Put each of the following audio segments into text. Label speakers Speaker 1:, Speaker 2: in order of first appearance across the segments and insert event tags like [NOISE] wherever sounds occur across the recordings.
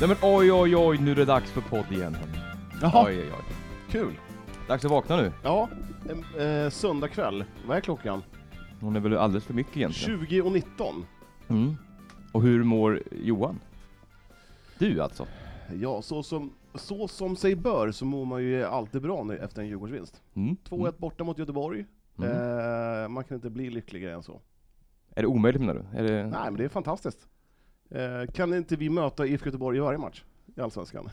Speaker 1: Nej men oj oj oj, nu är det dags för podd igen. hörni.
Speaker 2: Jaha,
Speaker 1: Oj oj oj.
Speaker 2: kul.
Speaker 1: Dags att vakna nu.
Speaker 2: Ja, en, eh, söndag kväll. Vad är klockan?
Speaker 1: Hon är väl alldeles för mycket egentligen.
Speaker 2: 20 och 19.
Speaker 1: Mm. Och hur mår Johan? Du alltså?
Speaker 2: Ja, så som, så som sig bör så mår man ju alltid bra nu efter en Djurgårdsvinst.
Speaker 1: Mm.
Speaker 2: 2-1 borta mot Göteborg.
Speaker 1: Mm. Mm.
Speaker 2: Eh, man kan inte bli lyckligare än så.
Speaker 1: Är det omöjligt menar du? Är det...
Speaker 2: Nej, men det är fantastiskt. Eh, kan inte vi möta IFK Göteborg i varje match i Allsvenskan?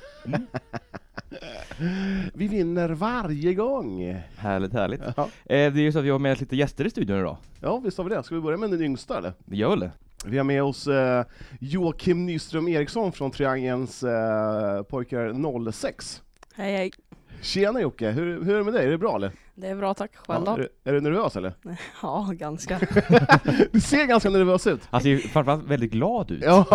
Speaker 2: [LAUGHS] vi vinner varje gång!
Speaker 1: Härligt härligt.
Speaker 2: Ja.
Speaker 1: Eh, det är ju så att vi har med oss lite gäster i studion idag.
Speaker 2: ja, visst har vi det. Ska vi börja med den yngsta eller?
Speaker 1: Vi gör väl det?
Speaker 2: Vi har med oss eh, Joakim Nyström Eriksson från Triangelns eh, pojkar 06.
Speaker 3: Hej hej.
Speaker 2: Tjena Jocke, hur, hur är det med dig? Är det bra eller?
Speaker 3: Det är bra tack. Själv
Speaker 2: Ja,
Speaker 3: då?
Speaker 2: är, är du nervös eller?
Speaker 3: Ja, ganska.
Speaker 2: Du ser ganska nervös ut.
Speaker 1: Han ser Alltså, ju framförallt väldigt glad ut.
Speaker 2: Ja,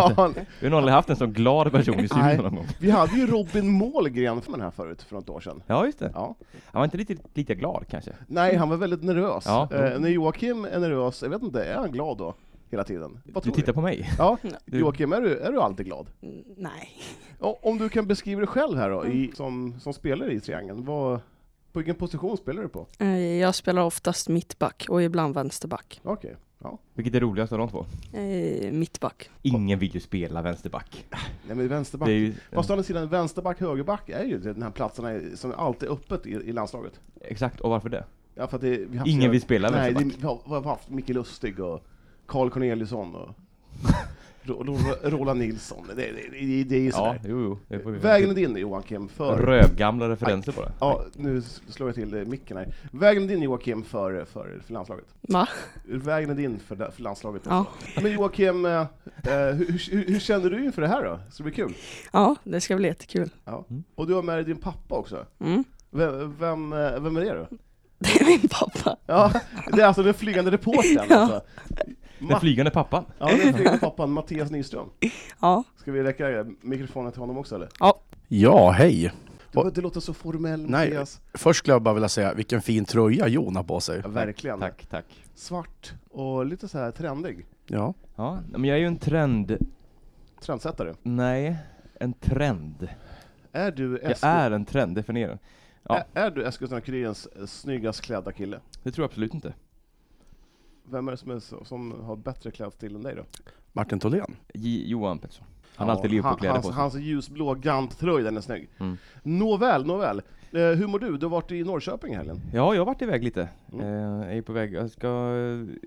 Speaker 1: Vi har nog aldrig haft en sån glad person i
Speaker 2: Nej.
Speaker 1: studion någon gång.
Speaker 2: vi hade ju Robin Målgren för den här förut, för något år sedan.
Speaker 1: Ja just det.
Speaker 2: Ja.
Speaker 1: Han var inte riktigt lika glad kanske.
Speaker 2: Nej, han var väldigt nervös.
Speaker 1: Ja.
Speaker 2: Eh, när Joakim är nervös, jag vet inte, är han glad då? Hela tiden? Vad
Speaker 1: Du
Speaker 2: tror
Speaker 1: tittar på mig.
Speaker 2: Ja,
Speaker 1: Du-
Speaker 2: Joakim, är du, är du alltid glad?
Speaker 3: [LAUGHS] Mm, Nej.
Speaker 2: Ja, Om du kan beskriva dig själv här då, i, som, som spelare i Triangeln, vad, på vilken position spelar du på?
Speaker 3: Eh, Jag spelar oftast mittback och ibland vänsterback.
Speaker 2: Okej, ja.
Speaker 1: Vilket är roligast av de två?
Speaker 3: Eh, Mittback.
Speaker 1: Ingen vill ju spela vänsterback.
Speaker 2: Nej men vänsterback.
Speaker 1: Det är ju...
Speaker 2: Fast å andra sidan, vänsterback, högerback är ju den här platserna är- som alltid är öppet i, i landslaget.
Speaker 1: Exakt, och varför det?
Speaker 2: Ja, för att det, vi har haft
Speaker 1: Ingen vill spela
Speaker 2: Nej, det,
Speaker 1: vänsterback.
Speaker 2: vi, har, vi har haft Micke Lustig och Carl
Speaker 1: [LAUGHS]
Speaker 2: Corneliusson och Ro- Ro- Roland Nilsson. Det, det, det, det är ju
Speaker 1: Ja,
Speaker 2: sådär.
Speaker 1: jo, jo. det får vi-
Speaker 2: Vägen är din Joakim för...
Speaker 1: Rövgamla referenser bara.
Speaker 2: Ja, nu slår jag till eh, micken här. Vägen är din Joakim för, för, för landslaget.
Speaker 3: Va?
Speaker 2: Vägen är din för, för landslaget.
Speaker 3: Ja.
Speaker 2: Men Joakim, eh, eh, hur, hur, hur känner du inför det här då? Ska det bli kul?
Speaker 3: ja, det ska bli jättekul. [LAUGHS]
Speaker 2: Ja.
Speaker 1: Mm.
Speaker 2: Och du har med dig din pappa också.
Speaker 3: Mm.
Speaker 2: Vem, vem, eh, vem är det då?
Speaker 3: Det är min pappa.
Speaker 2: Ja, det är alltså den flygande reportern.
Speaker 3: Ja.
Speaker 2: Alltså.
Speaker 1: Den
Speaker 2: Ma-
Speaker 1: flygande pappan.
Speaker 2: ja, den flygande pappan Mattias Nyström.
Speaker 3: Ja.
Speaker 2: Ska vi räcka mikrofonen till honom också eller?
Speaker 4: Ja, hej!
Speaker 2: Du behöver inte låta så formell
Speaker 4: Nej.
Speaker 2: Mattias.
Speaker 4: Först skulle jag bara vilja säga, vilken fin tröja Jon har på sig.
Speaker 2: Ja, verkligen.
Speaker 1: Tack, tack.
Speaker 2: Svart och lite så här trendig.
Speaker 4: Ja.
Speaker 1: Ja, men jag är ju en trend...
Speaker 2: Trendsättare.
Speaker 1: Nej, en trend.
Speaker 2: Är du,
Speaker 1: Jag
Speaker 2: Eskil-
Speaker 1: är en trend, definiera den. ja.
Speaker 2: Ä- är du Eskilstuna-Kurirens eh, snyggast klädda kille?
Speaker 1: Det tror jag absolut inte.
Speaker 2: Vem är det som, är, så- som har bättre klädstil än dig då?
Speaker 4: Martin Tholén.
Speaker 1: J Johan Pettersson. Han har
Speaker 2: Ja,
Speaker 1: alltid Liverpool-kläder
Speaker 2: han-
Speaker 1: på sig.
Speaker 2: Hans, hans ljusblå Gant-tröja, den är snygg.
Speaker 1: Mm.
Speaker 2: Nåväl, nåväl. Eh, hur mår du? Du har varit i Norrköping i helgen?
Speaker 1: Ja, jag har varit iväg lite.
Speaker 2: Mm.
Speaker 1: Eh, jag är på väg. Jag ska,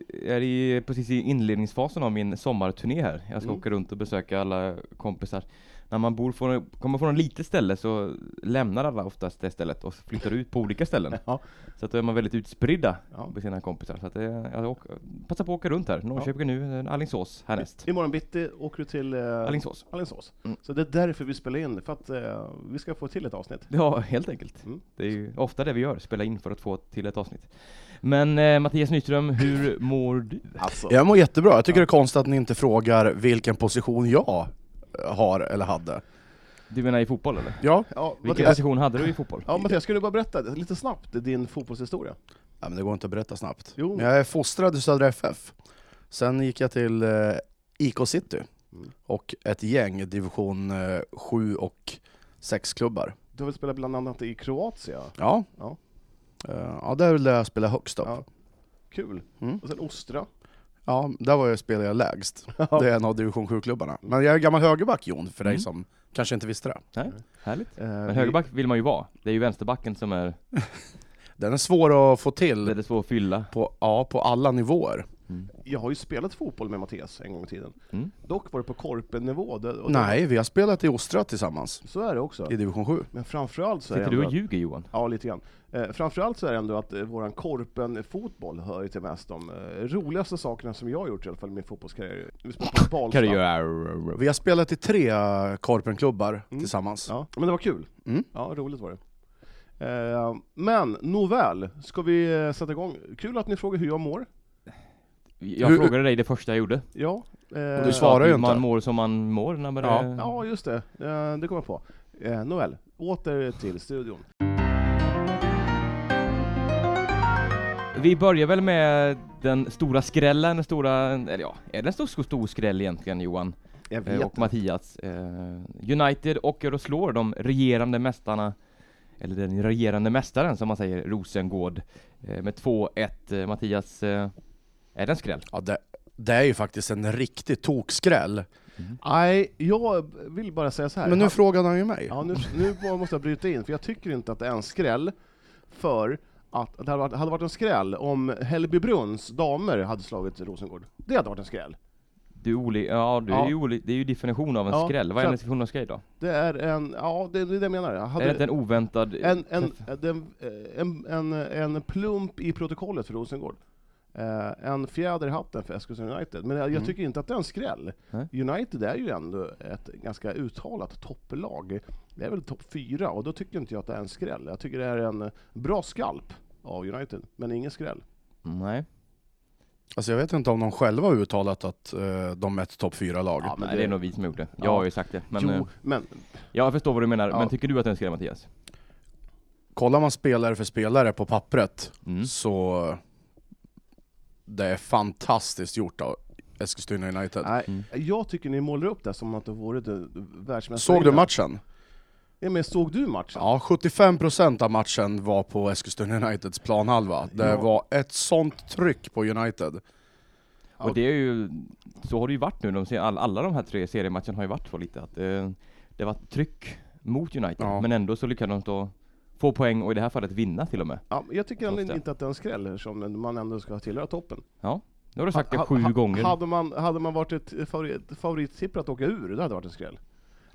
Speaker 1: jag är i, precis i inledningsfasen av min sommarturné här. Jag ska
Speaker 2: Mm.
Speaker 1: åka runt och besöka alla kompisar. När man bor från, kommer från ett litet ställe så lämnar alla oftast det stället och flyttar ut på olika ställen.
Speaker 2: Ja.
Speaker 1: Så att då är man väldigt utspridda
Speaker 2: Ja.
Speaker 1: med sina kompisar. Så att det, jag åker, passar på att åka runt här. Norrköping nu, eh, Alingsås härnäst.
Speaker 2: Imorgon bitti åker du till eh,
Speaker 1: Alingsås.
Speaker 2: Alingsås.
Speaker 1: Mm.
Speaker 2: Så det är därför vi spelar in, för att eh, vi ska få till ett avsnitt.
Speaker 1: Ja, helt enkelt.
Speaker 2: Mm.
Speaker 1: Det är ju ofta det vi gör, spela in för att få till ett avsnitt. Men eh, Mattias Nyström, hur mår du?
Speaker 2: Alltså.
Speaker 4: Jag mår jättebra. Jag tycker det är konstigt att ni inte frågar vilken position jag eh, har eller hade.
Speaker 1: Du menar i fotboll eller?
Speaker 4: Ja,
Speaker 1: [LAUGHS]
Speaker 2: Ja,
Speaker 1: Vilken
Speaker 2: Mattias,
Speaker 1: position hade du i fotboll?
Speaker 2: ja, Mattias, ska du bara berätta lite snabbt din fotbollshistoria?
Speaker 4: ja men det går inte att berätta snabbt.
Speaker 2: Jo.
Speaker 4: Men jag är fostrad i Södra FF. Sen gick jag till eh, IK City
Speaker 2: Mm.
Speaker 4: och ett gäng division eh, 7 och 6-klubbar.
Speaker 2: Du har väl spelat bland annat i Kroatien?
Speaker 4: Ja.
Speaker 2: Ja.
Speaker 4: Eh, ja, det är väl där jag spelar högst upp.
Speaker 2: Ja. Kul!
Speaker 4: Mm.
Speaker 2: Och sen Ostra.
Speaker 4: Ja, där var jag spelade
Speaker 2: [LAUGHS]
Speaker 4: jag lägst. Det är en av division 7-klubbarna. Men jag är gammal högerback Jon, för dig
Speaker 1: Mm.
Speaker 4: som kanske inte visste det.
Speaker 1: Nej, härligt.
Speaker 2: Eh,
Speaker 1: Men högerback vill man ju vara. Det är ju vänsterbacken som är
Speaker 4: Den är svår att få
Speaker 1: det är
Speaker 4: till
Speaker 1: det svårt att fylla.
Speaker 4: på, ja, på alla nivåer.
Speaker 2: vi, jag har ju spelat fotboll med Mattias en gång i tiden.
Speaker 1: Mm.
Speaker 2: Dock var det på korpennivå. Det, och det-
Speaker 4: Nej, vi har spelat i Ostra tillsammans
Speaker 2: Så är det också.
Speaker 4: i division 7.
Speaker 2: Men framförallt så är det
Speaker 1: Sitter
Speaker 2: ändå
Speaker 1: du och
Speaker 2: att-
Speaker 1: ljuger Johan?
Speaker 2: Ja, lite grann. Eh, framförallt så är det ändå att eh, våran korpen-fotboll hör ju till mest de eh, roligaste sakerna som jag har gjort i alla fall i min fotbollskarriär. Vi spelade på Balsta.
Speaker 1: göra?
Speaker 4: Vi har spelat i tre korpenklubbar
Speaker 2: Mm.
Speaker 4: tillsammans.
Speaker 2: Ja, men det var kul.
Speaker 4: Mm.
Speaker 2: Ja, roligt var det. Eh, men nåväl, ska vi eh, sätta igång? Kul att ni frågar hur jag mår.
Speaker 1: Jag
Speaker 4: Hur-
Speaker 1: frågade dig det första jag gjorde.
Speaker 2: Ja, eh,
Speaker 4: Och du svarar ju
Speaker 1: Att Man
Speaker 4: inte.
Speaker 1: mår som man mår när man
Speaker 4: Ja.
Speaker 1: är...
Speaker 2: ja just det. Eh, det kommer jag på. Eh, nåväl, åter till studion.
Speaker 1: Vi börjar väl med den stora skrällen, den stora, eller ja, är det en stor, stor, stor skräll egentligen Johan?
Speaker 2: Jag
Speaker 1: Eh,
Speaker 2: vet
Speaker 1: och Mattias. Eh, United åker och slår de regerande mästarna, eller den regerande mästaren som man säger, Rosengård, eh, med 2-1. Eh, Mattias, eh, är det en skräll?
Speaker 4: Ja, det, det är ju faktiskt en riktig tokskräll.
Speaker 2: Nej, jag vill bara säga så här.
Speaker 4: Men nu
Speaker 2: Han-
Speaker 4: frågade han ju mig.
Speaker 2: Ja, nu, nu bara måste jag bryta in, för jag tycker inte att det är en skräll för att det hade varit, hade varit en skräll om Hällbybrunns damer hade slagit Rosengård. Det hade varit en skräll.
Speaker 1: Du är oli- ja, du
Speaker 2: Ja.
Speaker 1: Är ju oli- det är ju definition av en
Speaker 2: Ja,
Speaker 1: skräll. Vad är
Speaker 2: så att-
Speaker 1: en definition av skräll då?
Speaker 2: Det är en, ja det, det är det jag menar.
Speaker 1: Är
Speaker 2: Hade,
Speaker 1: det inte en oväntad...
Speaker 2: en, en, den- eh, en, en, en plump i protokollet för Rosengård. Eh, en fjäder i hatten för Eskilstuna United. Men jag, jag tycker inte att det är en skräll.
Speaker 1: Mm. Nej.
Speaker 2: United är ju ändå ett ganska uttalat topplag. Det är väl topp fyra, och då tycker inte jag att det är en skräll. Jag tycker det är en eh, bra skalp av United, men ingen skräll.
Speaker 1: Nej.
Speaker 4: Alltså jag vet inte om de själva har uttalat att eh, de är ett topp fyra lag
Speaker 2: Ja, men
Speaker 1: Nej,
Speaker 2: det-
Speaker 1: det är nog vi som har gjort det. Jag
Speaker 2: Ja.
Speaker 1: har ju sagt det. Men
Speaker 2: jo,
Speaker 1: eh,
Speaker 2: men
Speaker 1: jag förstår vad du menar.
Speaker 2: Ja.
Speaker 1: Men tycker du att det är en skräll Mattias?
Speaker 4: Kollar man spelare för spelare på pappret
Speaker 1: Mm.
Speaker 4: så det är fantastiskt gjort av Eskilstuna United.
Speaker 2: nej,
Speaker 1: Mm.
Speaker 2: jag tycker ni målar upp det som att det vore det världsmästare.
Speaker 4: Såg du matchen?
Speaker 2: Ja, men såg du matchen?
Speaker 4: Ja, 75% av matchen var på Eskilstuna Uniteds planhalva. Det
Speaker 2: Ja.
Speaker 4: var ett sånt tryck på United.
Speaker 1: Och det är ju... Så har det ju varit nu. De ser, all, alla de här tre seriematcherna har ju varit så lite att eh, det har varit tryck mot United.
Speaker 4: Ja.
Speaker 1: Men ändå så lyckades de då få poäng och i det här fallet vinna till och med.
Speaker 2: Ja, jag tycker
Speaker 1: Trots
Speaker 2: ändå
Speaker 1: det.
Speaker 2: inte att det är en skräll, eftersom man ändå ska tillhöra toppen.
Speaker 1: Nu har du sagt det
Speaker 2: Ha-
Speaker 1: sju
Speaker 2: ha-
Speaker 1: gånger.
Speaker 2: Hade man, hade man varit ett favorit, favorittipp att åka ur, det hade varit en skräll.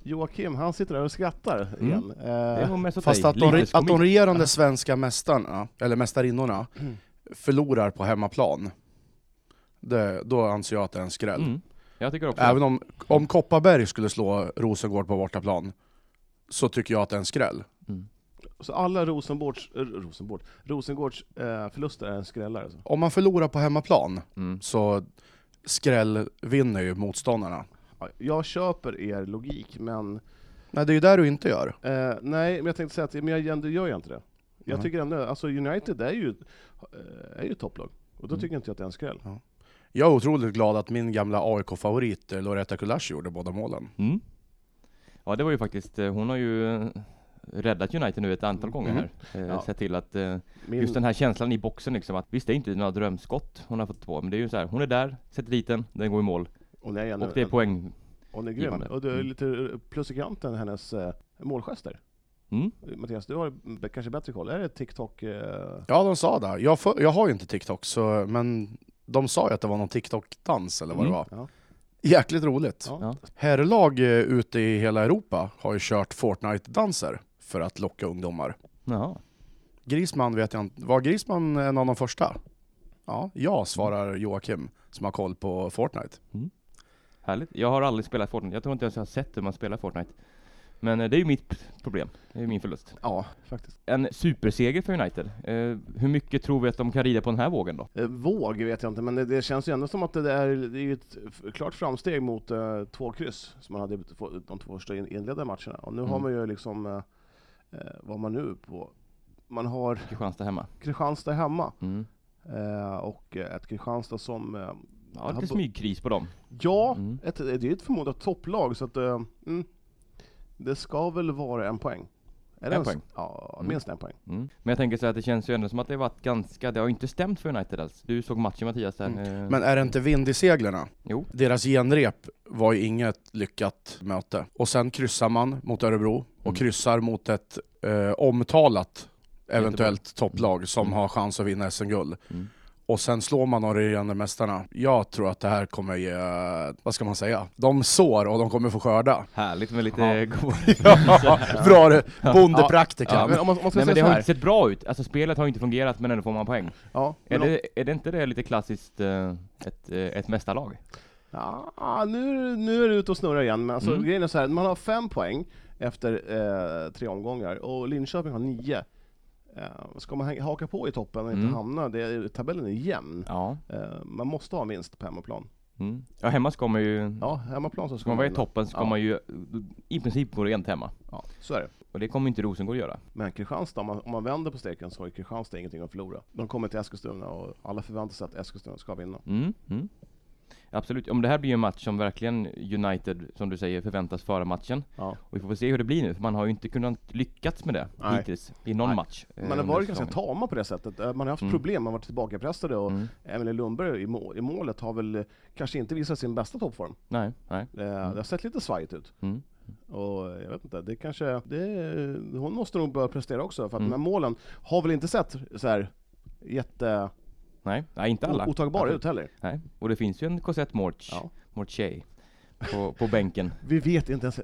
Speaker 2: Joakim, han sitter där och skrattar
Speaker 1: Mm.
Speaker 2: igen.
Speaker 1: det
Speaker 2: Eh,
Speaker 1: är nog mest åt
Speaker 4: Fast
Speaker 1: dig.
Speaker 4: att de,
Speaker 1: Lite
Speaker 4: att de
Speaker 1: komik.
Speaker 4: regerande svenska mästarna, eller mästarinnorna, förlorar på hemmaplan, det, då anser jag att det är en skräll.
Speaker 1: Mm. Jag tycker också
Speaker 4: Även om, om Kopparberg skulle slå Rosengård på bortaplan, så tycker jag att det är en skräll.
Speaker 2: så alla Rosenborgs, eh, Rosenborg, Rosengårds eh, förluster är en skrällare. Alltså.
Speaker 4: Om man förlorar på hemmaplan,
Speaker 1: Mm.
Speaker 4: så skräll vinner ju motståndarna.
Speaker 2: Ja, Jag köper er logik, men
Speaker 4: Nej, det är ju där du inte gör.
Speaker 2: eh, nej, men jag tänkte säga att men jag ändå gör jag inte det. Jag
Speaker 1: Mm.
Speaker 4: Nej.
Speaker 2: tycker ändå, alltså United är ju, eh, är ju ett topplag, och
Speaker 1: Mm.
Speaker 2: då tycker jag inte att det är en skräll.
Speaker 4: Jag är otroligt glad att min gamla AIK-favorit eh, Loretta Kulasch gjorde båda målen.
Speaker 1: Mm. Ja det var ju faktiskt, eh, hon har ju eh, räddat United nu ett antal gånger
Speaker 4: Mhm.
Speaker 1: här. Eh,
Speaker 2: Ja.
Speaker 1: Sett till att, eh,
Speaker 2: Min,
Speaker 1: just den här känslan i boxen liksom att visst det är inte några drömskott hon har fått på, men det är ju så här, hon är där, sätter dit den, den går i mål.
Speaker 2: hon, är ändå,
Speaker 1: Och det är poäng.
Speaker 2: hon är grym,
Speaker 1: givande.
Speaker 2: och det är
Speaker 1: Mm.
Speaker 2: lite plus i kanten hennes eh, målgester.
Speaker 1: Mm.
Speaker 2: Mattias, du har b- kanske bättre koll. Är det TikTok? Eh...
Speaker 4: Ja, de sa det. Jag, för, jag har ju inte TikTok, så, men de sa ju att det var någon TikTok-dans eller vad
Speaker 1: Mm.
Speaker 4: det var.
Speaker 2: Ja.
Speaker 4: Jäkligt roligt.
Speaker 2: Ja.
Speaker 1: Ja.
Speaker 4: Herrlag eh, ute i hela Europa har ju kört Fortnite-danser för att locka ungdomar.
Speaker 1: Jaha.
Speaker 4: Grisman vet jag inte. Var Grisman en av de första? Ja, ja, svarar Joakim som har koll på Fortnite.
Speaker 1: Härligt. Jag har aldrig spelat Fortnite. Jag tror inte ens jag har sett hur man spelar Fortnite. Men eh, det är ju mitt p- problem. Det är ju min förlust.
Speaker 2: ja, faktiskt.
Speaker 1: En superseger för United. Eh, hur mycket tror vi att de kan rida på den här vågen då?
Speaker 2: Eh, Våg vet jag inte, men det, det känns ju ändå som att det är, det är ju ett f- klart framsteg mot eh, två kryss som man hade i två- de två första in- inledande matcherna. Och nu har
Speaker 1: Mm.
Speaker 2: man ju liksom, eh, eh, vad har man nu på? Man har
Speaker 1: Kristianstad hemma.
Speaker 2: Kristianstad hemma
Speaker 1: Mm.
Speaker 2: eh, och eh, ett Kristianstad som, eh,
Speaker 1: Ja,
Speaker 2: Ja,
Speaker 1: lite
Speaker 2: bo-
Speaker 1: smygkris på dem.
Speaker 2: ja,
Speaker 1: Mm.
Speaker 2: ett, det är ju ett förmodat topplag så att eh, mm, det ska väl vara en poäng. Är det
Speaker 1: En
Speaker 2: s-
Speaker 1: poäng?
Speaker 2: Ja,
Speaker 1: Mm.
Speaker 2: minst en poäng.
Speaker 1: Mm. Men jag tänker så här att det känns ju ändå som att det har varit ganska, det har inte stämt för United alls. Du såg matchen Mattias där. eh,
Speaker 4: Men är det inte vind i seglerna?
Speaker 1: Jo.
Speaker 4: Deras genrep var ju inget lyckat möte. Och sen kryssar man mot Örebro och
Speaker 1: Mm.
Speaker 4: kryssar mot ett eh, omtalat eventuellt topplag som
Speaker 1: Mm.
Speaker 4: har chans att vinna SM-guld.
Speaker 1: Mm.
Speaker 4: Och sen slår man de regerande mästarna. Jag tror att det här kommer ge, vad ska man säga, de sår och de kommer
Speaker 1: [LAUGHS]
Speaker 4: få skörda.
Speaker 1: Härligt med lite
Speaker 4: Ja.
Speaker 1: goda
Speaker 4: Ja, Bra det,
Speaker 2: Ja,
Speaker 4: bondepraktikan.
Speaker 2: men om man, om man ska
Speaker 1: Nej men det
Speaker 2: säga så
Speaker 1: har
Speaker 2: här.
Speaker 1: inte sett bra ut. Alltså spelet har inte fungerat men ändå får man poäng.
Speaker 2: Ja,
Speaker 1: Är
Speaker 2: men om-
Speaker 1: det, är det inte det lite klassiskt eh, ett, eh, ett mästarlag?
Speaker 2: Ja, nu, nu är du ute och snurrar igen, men alltså,
Speaker 1: Mm.
Speaker 2: grejen är så här, man har fem poäng efter eh, tre omgångar och Linköping har nio. Eh, ska man hänga- haka på i toppen och inte
Speaker 1: Mm.
Speaker 2: hamna, det, är- tabellen är jämn.
Speaker 1: Ja.
Speaker 2: Eh, man måste ha en vinst på hemmaplan.
Speaker 1: Mm. Ja, hemma ska man ju...
Speaker 2: Ja, hemmaplan så
Speaker 1: Ska
Speaker 2: ska
Speaker 1: man
Speaker 2: man
Speaker 1: vara i
Speaker 2: vinna.
Speaker 1: toppen ska
Speaker 2: Ja.
Speaker 1: man ju i princip gå rent hemma.
Speaker 2: Ja, så är det.
Speaker 1: Och det kommer inte Rosengård göra.
Speaker 2: Men Kristianstad, om man, om man vänder på steken så har ju Kristianstad ingenting att förlora. De kommer till Eskilstuna och alla förväntar sig att Eskilstuna ska vinna.
Speaker 1: Mm. Mm. Absolut, om det här blir ju en match som verkligen United, som du säger, förväntas föra matchen.
Speaker 2: Ja.
Speaker 1: Och vi får väl se hur det blir nu, för man har ju inte kunnat lyckats med det
Speaker 2: Nej.
Speaker 1: hittills i någon
Speaker 2: Nej.
Speaker 1: match. eh,
Speaker 2: Man har
Speaker 1: under
Speaker 2: varit ganska
Speaker 1: säsongen.
Speaker 2: tama på det sättet. Eh, Man har haft
Speaker 1: Mm.
Speaker 2: problem, man har varit tillbakapressade och
Speaker 1: Mm.
Speaker 2: Emelie Lundberg i, må- i målet har väl eh, kanske inte visat sin bästa toppform.
Speaker 1: Nej, nej.
Speaker 2: Eh, Det har sett lite svajigt ut.
Speaker 1: Mm.
Speaker 2: Och eh, jag vet inte, det kanske... Det, hon måste nog börja prestera också, för att
Speaker 1: Mm.
Speaker 2: de här målen har väl inte sett så här jätte
Speaker 1: Nej, nej inte alla.
Speaker 2: otagbara ut heller.
Speaker 1: Nej. Och det finns ju en Cosette Morch,
Speaker 2: Ja.
Speaker 1: Morchey, på, på bänken.
Speaker 2: Vi vet inte ens...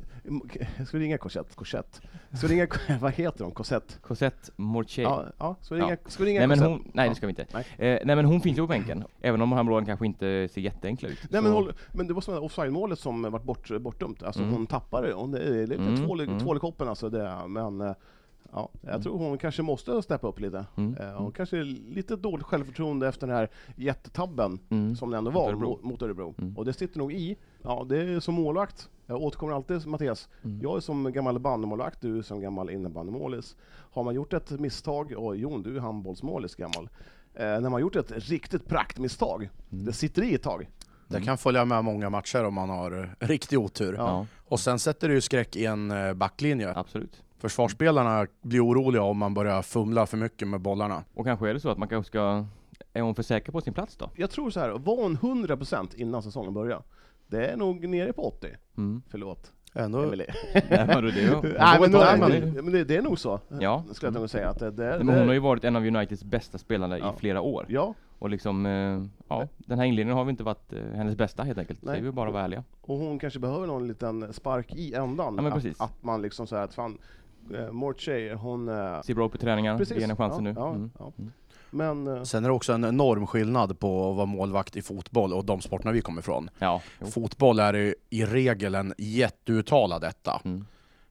Speaker 2: Ska vi ringa Korsett? Korsett? Ska vi ringa... [LAUGHS] Vad heter de? Korsett?
Speaker 1: Cosette Morchey.
Speaker 2: Ja, ja, ska vi ringa, Ska vi ringa
Speaker 1: Nej men,
Speaker 2: Korsett?
Speaker 1: hon, nej, det ska vi inte.
Speaker 2: Nej.
Speaker 1: Eh, nej men hon finns ju på bänken, även om handbollen kanske inte ser jätteenkla ut.
Speaker 2: Nej
Speaker 1: så-
Speaker 2: men, håll, men det var som det här offside-målet som varit bort, bortdömt. Alltså
Speaker 1: Mm.
Speaker 2: hon tappar det. Hon är lite
Speaker 1: Mm,
Speaker 2: tvål,
Speaker 1: mm.
Speaker 2: tvål i koppen alltså. Det, men eh, ja, jag tror hon kanske måste steppa upp lite.
Speaker 1: Mm,
Speaker 2: Eh, Hon kanske är lite dåligt självförtroende efter den här jättetabben
Speaker 1: Mm.
Speaker 2: som det ändå var
Speaker 1: Örebro.
Speaker 2: mot- mot Örebro.
Speaker 1: Mm.
Speaker 2: Och det sitter nog i. Ja, det är som målvakt. Jag återkommer alltid Mattias.
Speaker 1: Mm.
Speaker 2: Jag är som gammal bandymålvakt, du är som gammal innebandymålis. Har man gjort ett misstag, och Jon du är handbollsmålis gammal. Eh, när man gjort ett riktigt praktmisstag,
Speaker 1: Mm.
Speaker 2: det sitter i ett tag.
Speaker 4: Det kan följa med många matcher om man har eh, riktig otur.
Speaker 1: Ja,
Speaker 4: Och sen sätter det ju skräck i en eh, backlinje.
Speaker 1: absolut.
Speaker 4: Försvarsspelarna blir oroliga om man börjar fumla för mycket med bollarna.
Speaker 1: Och kanske är det så att man kanske ska... Är hon för säker på sin plats då?
Speaker 2: Jag tror så här, var hon 100% innan säsongen började? Det är nog nere på 80.
Speaker 1: Mm.
Speaker 2: Förlåt,
Speaker 4: Ändå,
Speaker 2: Emelie.
Speaker 1: [LAUGHS] Nej men det
Speaker 2: [LAUGHS]
Speaker 1: är ju...
Speaker 2: Nej, men,
Speaker 4: ta
Speaker 2: nej,
Speaker 4: den.
Speaker 2: men, men det, det är nog så, [LAUGHS]
Speaker 1: Ja.
Speaker 2: skulle jag nog säga. Att det, det,
Speaker 1: Men hon har ju varit en av Uniteds bästa spelare
Speaker 2: Ja.
Speaker 1: i flera år.
Speaker 2: Ja,
Speaker 1: Och liksom, eh, ja, den här inledningen har vi inte varit eh, hennes bästa helt enkelt.
Speaker 2: Nej.
Speaker 1: Det är vi bara att vara ärliga.
Speaker 2: och hon kanske behöver någon liten spark i ändan.
Speaker 1: Ja, men
Speaker 2: att,
Speaker 1: precis.
Speaker 2: att man liksom så här, att fan, eh, Mortjej, hon... Eh,
Speaker 1: Ser bra ut på träningarna,
Speaker 2: precis.
Speaker 1: ge henne chansen
Speaker 2: ja,
Speaker 1: nu.
Speaker 2: Ja,
Speaker 1: Mm.
Speaker 2: ja. Men... Eh,
Speaker 4: sen är det också en enorm skillnad på att vara målvakt i fotboll och de sporterna vi kommer ifrån.
Speaker 1: Ja, jo.
Speaker 4: Fotboll är ju i regel en jätteuttalad etta.
Speaker 1: Mm.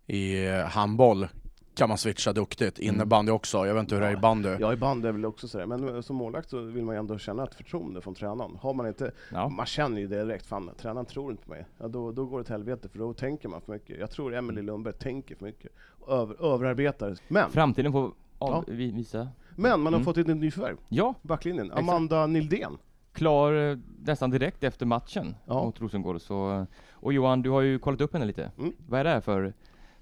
Speaker 4: I eh, handboll kan man switcha duktigt,
Speaker 1: Mm.
Speaker 4: innebandy också. Jag vet inte hur det är i bandy.
Speaker 2: Ja, i band är väl också sådär, men eh, som målvakt så vill man ju ändå känna ett förtroende från tränaren. Har man inte,
Speaker 1: Ja.
Speaker 2: man känner ju det direkt, fan tränaren tror inte på mig. Ja, då, då går det till helvete, för då tänker man för mycket. Jag tror
Speaker 1: Mm.
Speaker 2: Emelie Lundberg tänker för mycket. Över, överarbetar. Men,
Speaker 1: Framtiden får av, vi- visa.
Speaker 2: men man har
Speaker 1: Mm.
Speaker 2: fått ett nyförvärv,
Speaker 1: Ja,
Speaker 2: backlinjen.
Speaker 1: Exakt.
Speaker 2: Amanda Nildén.
Speaker 1: klar eh, nästan direkt efter matchen
Speaker 2: Ja.
Speaker 1: mot Rosengård. Så, eh, och Johan, du har ju kollat upp henne lite.
Speaker 2: Mm.
Speaker 1: Vad är det här för,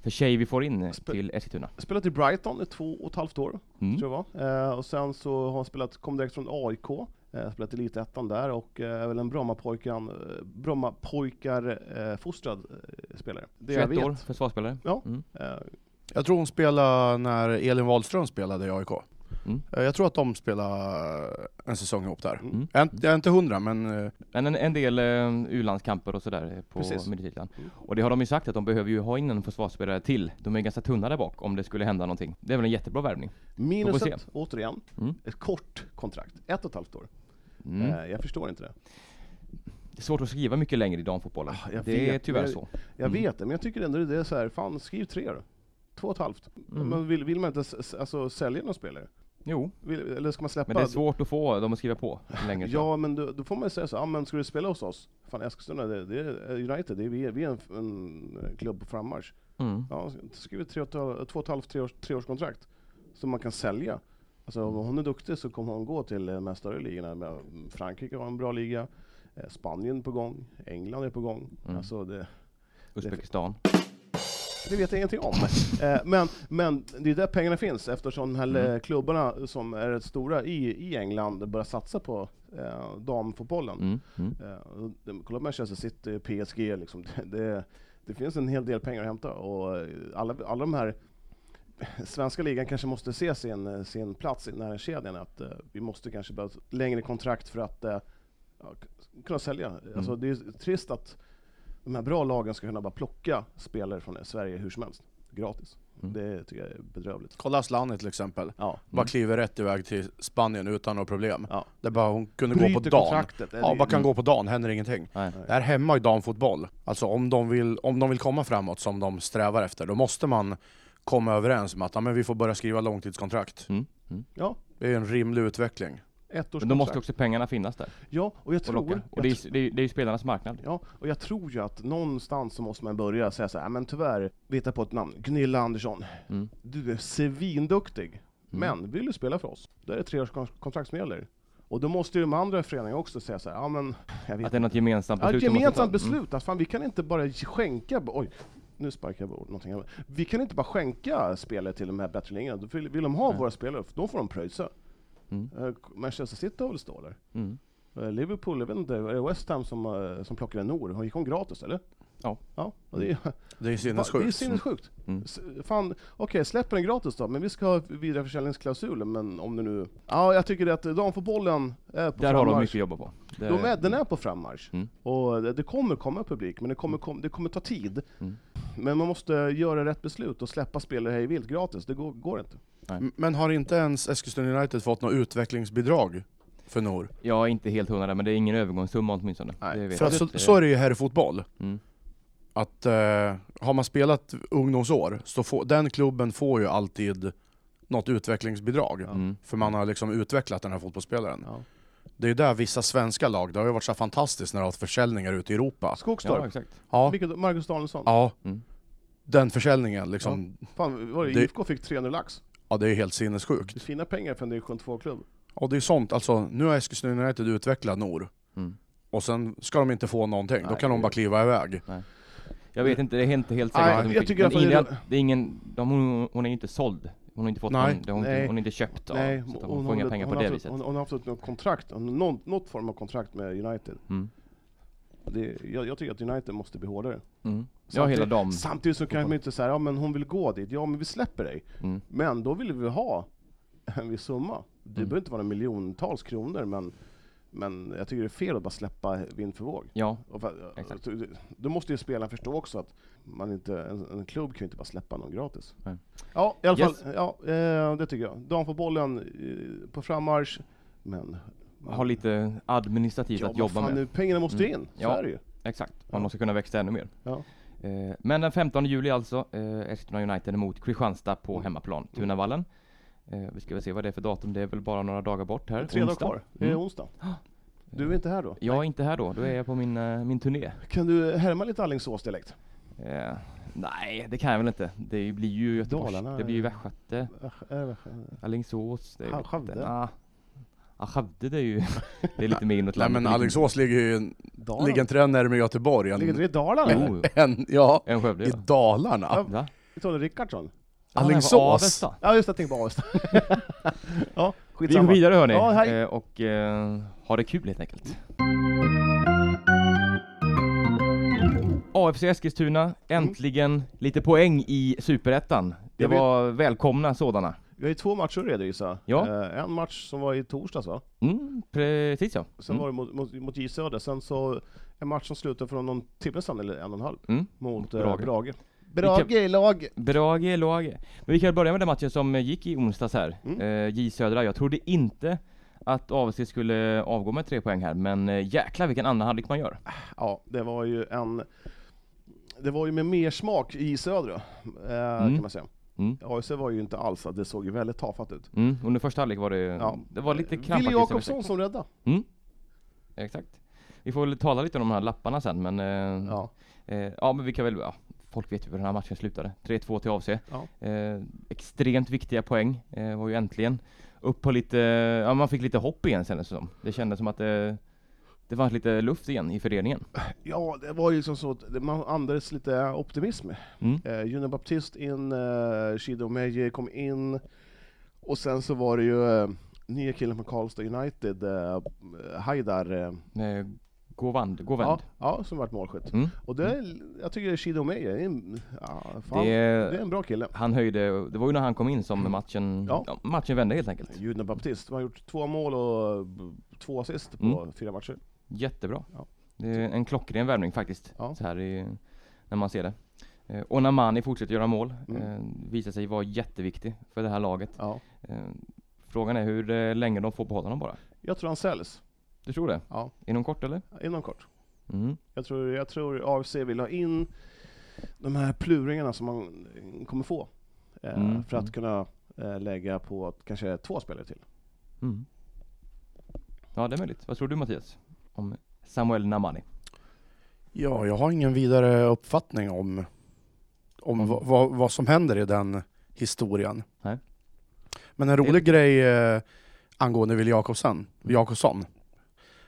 Speaker 1: för tjej vi får in eh,
Speaker 2: Spe-
Speaker 1: till Eskilstuna?
Speaker 2: Spelat i Brighton i två och ett halvt år,
Speaker 1: Mm.
Speaker 2: tror jag det var. Eh, och sen så har hon spelat, kom direkt från AIK, eh, spelat i elitettan där och eh, är väl en Brommapojkan, eh, Brommapojkar-fostrad eh, spelare. Det jag
Speaker 1: 21 år,
Speaker 2: vet.
Speaker 1: försvarsspelare.
Speaker 2: Eh,
Speaker 4: Jag tror hon spelade när Elin Wahlström spelade i AIK.
Speaker 1: Mm.
Speaker 4: Eh, Jag tror att de spelade en säsong ihop där.
Speaker 1: Mm.
Speaker 4: Jag är inte- jag är inte hundra, men eh,
Speaker 1: Men en, en del eh, U-landskamper och sådär eh, på
Speaker 2: Precis.
Speaker 1: Midtjylland.
Speaker 2: Mm.
Speaker 1: Och det har de ju sagt att de behöver ju ha in en försvarsspelare till. De är ganska tunna där bak om det skulle hända någonting. Det är väl en jättebra värvning. Får vi
Speaker 2: Minuset,
Speaker 1: se.
Speaker 2: återigen,
Speaker 1: Mm.
Speaker 2: ett kort kontrakt. Ett och ett halvt år.
Speaker 1: Mm.
Speaker 2: Eh, jag förstår inte det.
Speaker 1: Det är svårt att skriva mycket längre i damfotbollen.
Speaker 2: Ah, jag
Speaker 1: det är
Speaker 2: vet,
Speaker 1: tyvärr
Speaker 2: men-
Speaker 1: så.
Speaker 2: Jag
Speaker 1: Mm.
Speaker 2: vet det, men jag tycker ändå det är så här, fan skriv tre då. Två och ett halvt.
Speaker 1: Mm.
Speaker 2: Men vill, vill man inte s- s- alltså, sälja någon spelare?
Speaker 1: Jo,
Speaker 2: Vill, eller ska man släppa?
Speaker 1: men det är svårt att få dem att skriva på längre. så.
Speaker 2: Ah, Ja, men då, då får man ju säga så, ah, men ska du spela hos oss? Fan Eskilstuna, det, det är eh, United, det är, vi är, vi är en, en eh, klubb på frammarsch.
Speaker 1: Mm.
Speaker 2: Ja, skriv ett tre och ett halv- två och ett halvt, tre års, tre års kontrakt som man kan sälja. Alltså om hon är duktig så kommer hon gå till eh, de här större ligorna. Men Frankrike har en bra liga, eh, Spanien är på gång, England är på gång.
Speaker 1: Mm.
Speaker 2: Alltså det,
Speaker 1: Uzbekistan.
Speaker 2: det vet jag ingenting om. Eh, men, men det är där pengarna finns eftersom de här
Speaker 1: Mm.
Speaker 2: eh, klubbarna som är rätt stora i, i England börjar satsa på eh, damfotbollen.
Speaker 1: Mm. Mm.
Speaker 2: Eh, och de- kolla Manchester City, PSG, liksom, [LAUGHS] det, det, det finns en hel del pengar att hämta och eh, alla, alla de här [LAUGHS] Svenska ligan kanske måste se sin, eh, sin plats i nära kedjan att eh, vi måste kanske behöva ett längre kontrakt för att eh, ja, k- kunna sälja.
Speaker 1: Mm.
Speaker 2: Alltså, det är trist att de här bra lagen ska kunna bara plocka spelare från Sverige hur som helst, gratis.
Speaker 1: Mm.
Speaker 2: Det tycker jag är bedrövligt.
Speaker 4: kolla Asllani till exempel.
Speaker 2: Ja.
Speaker 4: Bara kliver rätt iväg till Spanien utan några problem.
Speaker 2: Mm. Ja.
Speaker 4: Där bara hon kunde gå på
Speaker 2: Bryter
Speaker 4: dagen.
Speaker 2: kontraktet.
Speaker 4: Ja,
Speaker 2: det- Mm.
Speaker 4: bara kan gå på dagen, händer ingenting.
Speaker 1: Nej.
Speaker 4: Det här hemma i damfotboll, alltså om de, vill, om de vill komma framåt som de strävar efter, då måste man komma överens om att ja, men vi får börja skriva långtidskontrakt.
Speaker 1: Mm. Mm.
Speaker 2: Ja,
Speaker 4: Det är en rimlig utveckling.
Speaker 2: Ett års
Speaker 1: Men då måste
Speaker 2: kontrakt.
Speaker 1: också pengarna finnas där
Speaker 2: Ja, och jag
Speaker 1: och
Speaker 2: tror...
Speaker 1: locka. Och
Speaker 2: jag
Speaker 1: det är, det är, det är ju spelarnas marknad.
Speaker 2: Ja, och jag tror ju att någonstans så måste man börja säga så här, men tyvärr, vi hittar på ett namn, Gunilla Andersson.
Speaker 1: Mm.
Speaker 2: Du är svinduktig, men vill du spela för oss? Då är det tre års kon- kontrakt som gäller. Och då måste ju de andra föreningarna också säga så här, ja men, jag
Speaker 1: Att
Speaker 2: vet
Speaker 1: det är något gemensamt
Speaker 2: Ja,
Speaker 1: beslut.
Speaker 2: ett
Speaker 1: de måste
Speaker 2: gemensamt
Speaker 1: ta.
Speaker 2: beslut, att fan vi kan inte bara skänka, oj, nu sparkar jag bort någonting. Vi kan inte bara skänka spelare till de här bättre linjerna, Då vill, vill de ha
Speaker 1: Nej.
Speaker 2: våra spelare, då får de pröjsa.
Speaker 1: Mm.
Speaker 2: Eh, Manchester City har väl stå där?
Speaker 1: Mm. Mm.
Speaker 2: Eh, Liverpool, jag vet inte, är det West Ham som, eh, som plockade Nour? Hon Gick hon gratis eller?
Speaker 1: Ja.
Speaker 2: ja och det, är, [LAUGHS]
Speaker 4: Det är ju
Speaker 2: det är
Speaker 4: sinnessjukt.
Speaker 2: sinnessjukt.
Speaker 1: Mm.
Speaker 2: S- Fan, okej, släpper den gratis då, men vi ska ha vidareförsäljningsklausulen, men om det nu... Ja, jag tycker att de får bollen är på
Speaker 1: Där har de
Speaker 2: frammarsch.
Speaker 1: mycket att jobba på. Det-
Speaker 2: De är, den är på frammarsch.
Speaker 1: Eh, Mm.
Speaker 2: Och det det kommer komma publik, men det kommer, kom, det kommer ta tid.
Speaker 1: Mm.
Speaker 2: Men man måste göra rätt beslut och släppa spelare hej vilt gratis. Det går, går inte.
Speaker 4: M- Men har inte ens Eskilstuna United fått något utvecklingsbidrag för Nor?
Speaker 1: Jag är inte helt hundra där, men det är ingen övergångssumma åtminstone.
Speaker 2: Nej,
Speaker 1: Det vet
Speaker 4: För
Speaker 1: jag.
Speaker 4: att så,
Speaker 1: Det-
Speaker 4: så är det ju här i fotboll.
Speaker 1: Mm.
Speaker 4: Att eh, har man spelat ungdomsår, så får, den klubben får ju alltid något utvecklingsbidrag.
Speaker 1: Mm.
Speaker 4: För man har liksom utvecklat den här fotbollsspelaren.
Speaker 2: Ja.
Speaker 4: Det är ju där vissa svenska lag, det har ju varit så här fantastiskt när det har varit försäljningar ute i Europa.
Speaker 2: Skogstorp,
Speaker 1: Ja, exakt.
Speaker 4: Ja,
Speaker 2: vilket, Marcus Danielsson.
Speaker 4: ja.
Speaker 1: Mm.
Speaker 4: den försäljningen liksom, ja,
Speaker 2: Fan, var det,
Speaker 4: Det-
Speaker 2: IFK fick 300 lax.
Speaker 4: det är helt
Speaker 2: Det är
Speaker 4: sinnessjukt.
Speaker 2: fina pengar för en division 2-klubb.
Speaker 4: Och det är sånt, alltså nu har Eskilstuna United utvecklat Nor.
Speaker 1: Mm.
Speaker 4: Och sen ska de inte få någonting, då
Speaker 2: Nej,
Speaker 4: kan de
Speaker 2: det-
Speaker 4: bara kliva iväg.
Speaker 1: Jag vet inte, det är inte helt
Speaker 2: Nej,
Speaker 1: säkert. att de
Speaker 2: jag
Speaker 1: fick-
Speaker 2: tycker i alla
Speaker 1: men
Speaker 2: fall-
Speaker 1: ingen- det är ingen, de, hon, hon är ju inte såld. Hon har inte fått
Speaker 4: Nej.
Speaker 1: någon, det har hon, inte-
Speaker 2: Nej.
Speaker 1: hon är inte köpt av.
Speaker 2: Nej,
Speaker 1: så att hon, får inga
Speaker 2: hade-
Speaker 1: pengar på
Speaker 2: hon
Speaker 1: det
Speaker 2: hade-
Speaker 1: viset.
Speaker 2: Hon, hon har alltså- haft något kontrakt, någon, något form av kontrakt med United.
Speaker 1: Mm.
Speaker 2: Det, jag, jag tycker att United måste bli hårdare.
Speaker 1: Mm. Ja, hela dam.
Speaker 2: Samtidigt så kan man ju inte säga, ja men hon vill gå dit, ja men vi släpper dig.
Speaker 1: Mm.
Speaker 2: Men då vill vi ha en viss summa. Det
Speaker 1: Mm.
Speaker 2: behöver inte vara miljontals kronor, men, men jag tycker det är fel att bara släppa vind för våg.
Speaker 1: Ja,
Speaker 2: Och för,
Speaker 1: Exakt.
Speaker 2: du- Då måste ju spelaren förstå också att man inte, en, en klubb kan ju inte bara släppa någon gratis.
Speaker 1: Nej.
Speaker 2: Ja, i alla
Speaker 1: Yes.
Speaker 2: fall, ja, eh, det tycker jag. De får bollen eh, på frammarsch, men...
Speaker 1: har lite administrativt
Speaker 2: ja,
Speaker 1: att jobba med. Mm.
Speaker 2: Nu, pengarna måste ju in, så
Speaker 1: Ja.
Speaker 2: är det ju.
Speaker 1: Exakt,
Speaker 2: Ja.
Speaker 1: man måste kunna växa ännu mer.
Speaker 2: Ja.
Speaker 1: Eh, Men den 15 juli alltså, eh, Eskilstuna United mot Kristianstad
Speaker 2: Mm.
Speaker 1: på hemmaplan, Tunavallen. Eh, Vi ska väl se vad det är för datum, det är väl bara några dagar bort här.
Speaker 2: Tre dagar
Speaker 1: onsdag.
Speaker 2: kvar, det är
Speaker 1: Mm. [GASPS]
Speaker 2: onsdag. Du är inte här då?
Speaker 1: Jag är inte här då, då är jag på min, eh, min turné.
Speaker 2: Kan du härma lite Alingsås-dialekt?
Speaker 1: Eh, Nej, det kan jag väl inte. Det blir ju Göteborgs,
Speaker 2: Dalarna
Speaker 1: det blir ju
Speaker 2: är-
Speaker 1: Västgöte,
Speaker 2: Äh, äh, äh.
Speaker 1: Alingsås. det är
Speaker 2: Ha-
Speaker 1: väl-
Speaker 2: Skövde?
Speaker 1: Nja. Ja, Skövde det är
Speaker 2: [LAUGHS]
Speaker 1: ju, det är lite mer inåt
Speaker 4: Nej
Speaker 1: landet.
Speaker 4: men
Speaker 1: lite-
Speaker 4: Alingsås ligger ju,
Speaker 2: Dalarna?
Speaker 4: ligger inte den närmare Göteborg
Speaker 2: Ligger inte
Speaker 4: än,
Speaker 2: det i Dalarna? eller?
Speaker 1: Jo,
Speaker 4: än ja,
Speaker 1: en Skövde
Speaker 4: i
Speaker 1: ja.
Speaker 4: Dalarna?
Speaker 1: Va?
Speaker 2: Vi tar det Rickardsson.
Speaker 1: Ja, nej,
Speaker 4: Alingsås?
Speaker 1: vad Avesta.
Speaker 2: Ja just det, jag tänkte på Avesta. [LAUGHS] ja,
Speaker 1: Vi går
Speaker 2: skitsamma.
Speaker 1: vidare hörni,
Speaker 2: Ja, hej.
Speaker 1: Eh, och eh, ha det kul helt enkelt. AFC Eskilstuna, äntligen lite poäng i Superettan. Det
Speaker 2: Jag vet-
Speaker 1: var välkomna sådana.
Speaker 2: Vi har ju två matcher att redovisa.
Speaker 1: Ja.
Speaker 2: Eh, en match som var i torsdags va?
Speaker 1: Mm, precis ja.
Speaker 2: Sen
Speaker 1: Mm.
Speaker 2: var det mot, mot, mot J Söder, sen så en match som slutade för någon timme sedan, eller en och en halv,
Speaker 1: Mm.
Speaker 2: mot eh,
Speaker 1: Brage.
Speaker 2: Brage. Brage i lag!
Speaker 1: Brage, Lage. Men vi kan börja med den matchen som eh, gick i onsdags här.
Speaker 2: Mm.
Speaker 1: Eh, J Södra. Jag trodde inte att AFC skulle avgå med tre poäng här, men eh, jäklar vilken annan halvlek man gör.
Speaker 2: Ja, det var ju en... Det var ju med mer smak i J Södra, eh,
Speaker 1: Mm.
Speaker 2: kan man säga.
Speaker 1: Mm.
Speaker 2: AIC var ju inte alls, det såg ju väldigt tafatt ut.
Speaker 1: Mm. Under första halvlek var det,
Speaker 2: Ja.
Speaker 1: det var lite krampaktigt.
Speaker 2: Wille
Speaker 1: som vi
Speaker 2: Jakobsson som rädda.
Speaker 1: Exakt. Vi får väl tala lite om de här lapparna sen men... Eh, ja.
Speaker 2: Ja.
Speaker 1: Eh, ja men vi kan väl... Ja, folk vet ju hur den här matchen slutade. 3-2 till AFC.
Speaker 2: Ja.
Speaker 1: Eh, extremt viktiga poäng eh, var ju äntligen upp på lite... Ja man fick lite hopp igen kändes det som. Det kändes som att eh, det fanns lite luft igen i föreningen.
Speaker 2: Ja, det var ju som så att man andades lite optimism.
Speaker 1: Mm.
Speaker 2: Eh, Juno Baptiste in, eh, Shido Meje kom in, och sen så var det ju eh, nya killen från Karlstad United, eh, Haidar, eh,
Speaker 1: Eh, Gåvand,
Speaker 2: ja,
Speaker 1: Gåvänd.
Speaker 2: ja, som vart målskytt.
Speaker 1: Mm.
Speaker 2: Och det, är- jag tycker Shido Meje, är en- ja, fan, det... är
Speaker 1: Det,
Speaker 2: en bra kille.
Speaker 1: han höjde... Det var ju när han kom in som matchen...
Speaker 2: Ja.
Speaker 1: Ja. matchen vände helt enkelt.
Speaker 2: Juno Baptiste, han har gjort två mål och b- två assist på
Speaker 1: Mm.
Speaker 2: fyra matcher.
Speaker 1: Jättebra.
Speaker 2: Ja.
Speaker 1: Det är en klockren värvning faktiskt.
Speaker 2: Ja.
Speaker 1: Så här i, när man ser det. Eh, Och när Mani fortsätter göra mål.
Speaker 2: Mm.
Speaker 1: Eh, visar sig vara jätteviktig för det här laget.
Speaker 2: Ja.
Speaker 1: Eh, frågan är hur eh, länge de får behålla honom bara.
Speaker 2: Jag tror han säljs,
Speaker 1: Du tror det?
Speaker 2: Ja.
Speaker 1: Inom kort eller?
Speaker 2: inom kort.
Speaker 1: Mm.
Speaker 2: Jag tror, jag tror AFC vill ha in de här pluringarna som man kommer få. Eh,
Speaker 1: Mm,
Speaker 2: För att
Speaker 1: mm.
Speaker 2: kunna eh, lägga på att kanske två spelare till.
Speaker 1: Mm. Ja, det är möjligt. Vad tror du Mattias? Om Samuel Namani?
Speaker 4: Ja, jag har ingen vidare uppfattning om, om vad- vad- vad som händer i den historien.
Speaker 1: Mm. Nej.
Speaker 4: Men en rolig grej eh, angående Will Jakobsen,
Speaker 1: Mm.
Speaker 4: Jakobsson,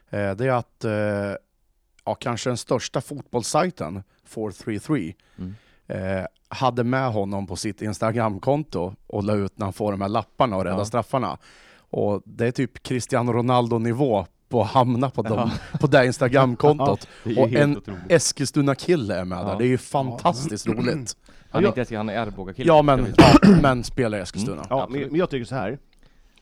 Speaker 4: eh, det är att eh, ja, kanske den största fotbollssajten, 433,
Speaker 1: Mm.
Speaker 4: eh, hade med honom på sitt Instagramkonto och la ut när han får de här lapparna och rädda
Speaker 1: Ja.
Speaker 4: straffarna. Och det är typ Cristiano Ronaldo-nivå på att hamna på, dem, på det
Speaker 1: [LAUGHS]
Speaker 4: här Instagramkontot.
Speaker 1: Det är ju
Speaker 4: Och
Speaker 1: helt
Speaker 4: en
Speaker 1: otroligt.
Speaker 4: Eskilstuna-kille är med
Speaker 1: Ja.
Speaker 4: där, det är ju fantastiskt roligt.
Speaker 1: Han är
Speaker 2: Ja.
Speaker 1: inte ens, han är Arboga-kille.
Speaker 4: Ja men, ja, [CLEARS THROAT] men spela i Eskilstuna.
Speaker 2: Ja, men,
Speaker 1: Absolut.
Speaker 2: men jag tycker så här.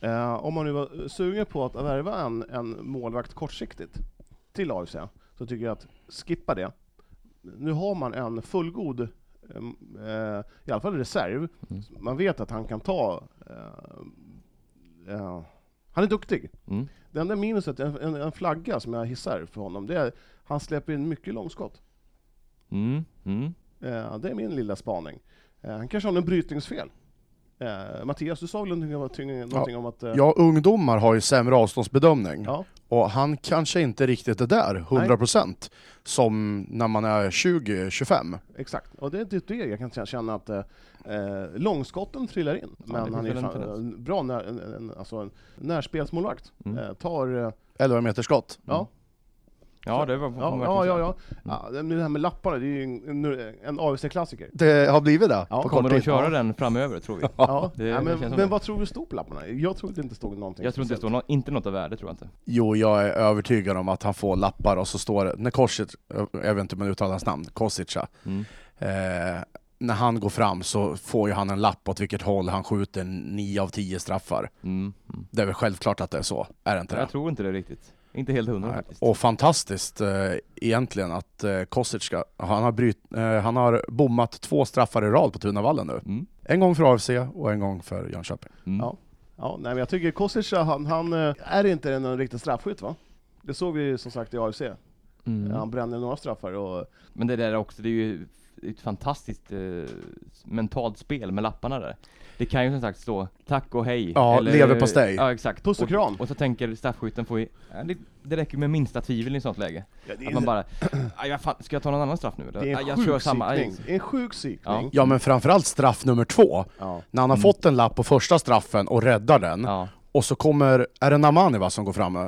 Speaker 2: Eh, om man nu var sugen på att värva en, en målvakt kortsiktigt till AFC, så tycker jag att skippa det. Nu har man en fullgod, em, eh, i alla fall reserv,
Speaker 1: Mm.
Speaker 2: man vet att han kan ta... eh, eh, han är duktig.
Speaker 1: Mm.
Speaker 2: Det enda minuset, en, en, en flagga som jag hissar för honom, det är han släpper in mycket långskott.
Speaker 1: Mm. Mm.
Speaker 2: Eh, det är min lilla spaning. Eh, han kanske har en brytningsfel. Eh, Mattias, du sa väl någonting, om- tyng- någonting om att... eh,
Speaker 4: Ja, ungdomar har ju sämre avståndsbedömning.
Speaker 2: Ja.
Speaker 4: Och han kanske inte riktigt är där, 100%, som när man är 20-25.
Speaker 2: Exakt, och det är typ det jag kan känna att eh, eh, långskotten trillar in, men
Speaker 1: det
Speaker 2: han är
Speaker 1: finns väl en
Speaker 2: fan,
Speaker 1: tendens.
Speaker 2: en bra när, en, en, alltså en närspelsmålvakt.
Speaker 1: Mm.
Speaker 2: Eh, tar... Eh,
Speaker 4: 11 meter skott.
Speaker 2: ja,
Speaker 1: Ja, det var, får
Speaker 2: ja,
Speaker 1: man verkligen Mm.
Speaker 2: ja, ja,
Speaker 1: säga.
Speaker 2: ja. ja. Det det här med lapparna, det är ju en, en- en AFC-klassiker.
Speaker 4: Det har blivit det
Speaker 2: Ja,
Speaker 4: på
Speaker 1: Kommer
Speaker 4: kort
Speaker 1: de
Speaker 4: tid.
Speaker 1: köra den framöver
Speaker 4: [LAUGHS]
Speaker 1: tror vi?
Speaker 2: Ja.
Speaker 1: det-
Speaker 2: ja,
Speaker 1: det
Speaker 2: men
Speaker 1: känns som
Speaker 2: men
Speaker 1: det.
Speaker 2: vad tror du stod på lapparna? Jag tror det inte stod någonting.
Speaker 1: Jag tror inte det står
Speaker 2: speciellt.
Speaker 1: nå- inte något av värde, tror jag inte.
Speaker 4: Jo, jag är övertygad om att han får lappar och så står det, när Kosic, jag vet inte om jag uttalar hans namn, Kosica,
Speaker 1: Mm.
Speaker 4: eh, när han går fram så får ju han en lapp åt vilket håll han skjuter 9 av 10 straffar.
Speaker 1: Mm. Mm.
Speaker 4: Det är väl självklart att det är så, är det inte det?
Speaker 1: Jag tror inte det riktigt. Inte helt hundra
Speaker 4: Nej.
Speaker 1: faktiskt.
Speaker 4: Och fantastiskt eh, egentligen att eh, Kosic ska, han, har bryt, eh, han har bommat två straffar i rad på Tunavallen nu.
Speaker 1: Mm.
Speaker 4: En gång för AFC och en gång för Jönköping.
Speaker 1: Mm.
Speaker 2: Ja. Ja, nej, men jag tycker Kostic, han, han eh, är inte någon riktig straffskytt va? Det såg vi ju som sagt i AFC.
Speaker 1: Mm.
Speaker 2: Han brände några straffar och
Speaker 1: Men det där också, det är ju ett fantastiskt eh, mentalt spel med lapparna där. Det kan ju som sagt stå tack och hej.
Speaker 4: Ja, leverpastej.
Speaker 1: Ja, exakt.
Speaker 2: Puss och kram.
Speaker 1: Och så tänker straffskytten, får ju, ja, det, det räcker med minsta tvivel i ett sånt läge.
Speaker 2: Ja, det är
Speaker 1: Att man
Speaker 4: [CLEARS THROAT]
Speaker 1: bara, aj, vad fan, ska jag ta någon annan straff nu eller?
Speaker 2: Det är
Speaker 1: Aj,
Speaker 2: en
Speaker 1: jag kör
Speaker 2: sjuk
Speaker 1: samma, aj.
Speaker 2: sikning. Det är en sjuk sikning.
Speaker 4: Ja men framförallt straff nummer två.
Speaker 2: Ja. Mm.
Speaker 4: När han har fått en lapp på första straffen och räddar den.
Speaker 1: Ja.
Speaker 4: Och så kommer, är det Namani va som går fram eh,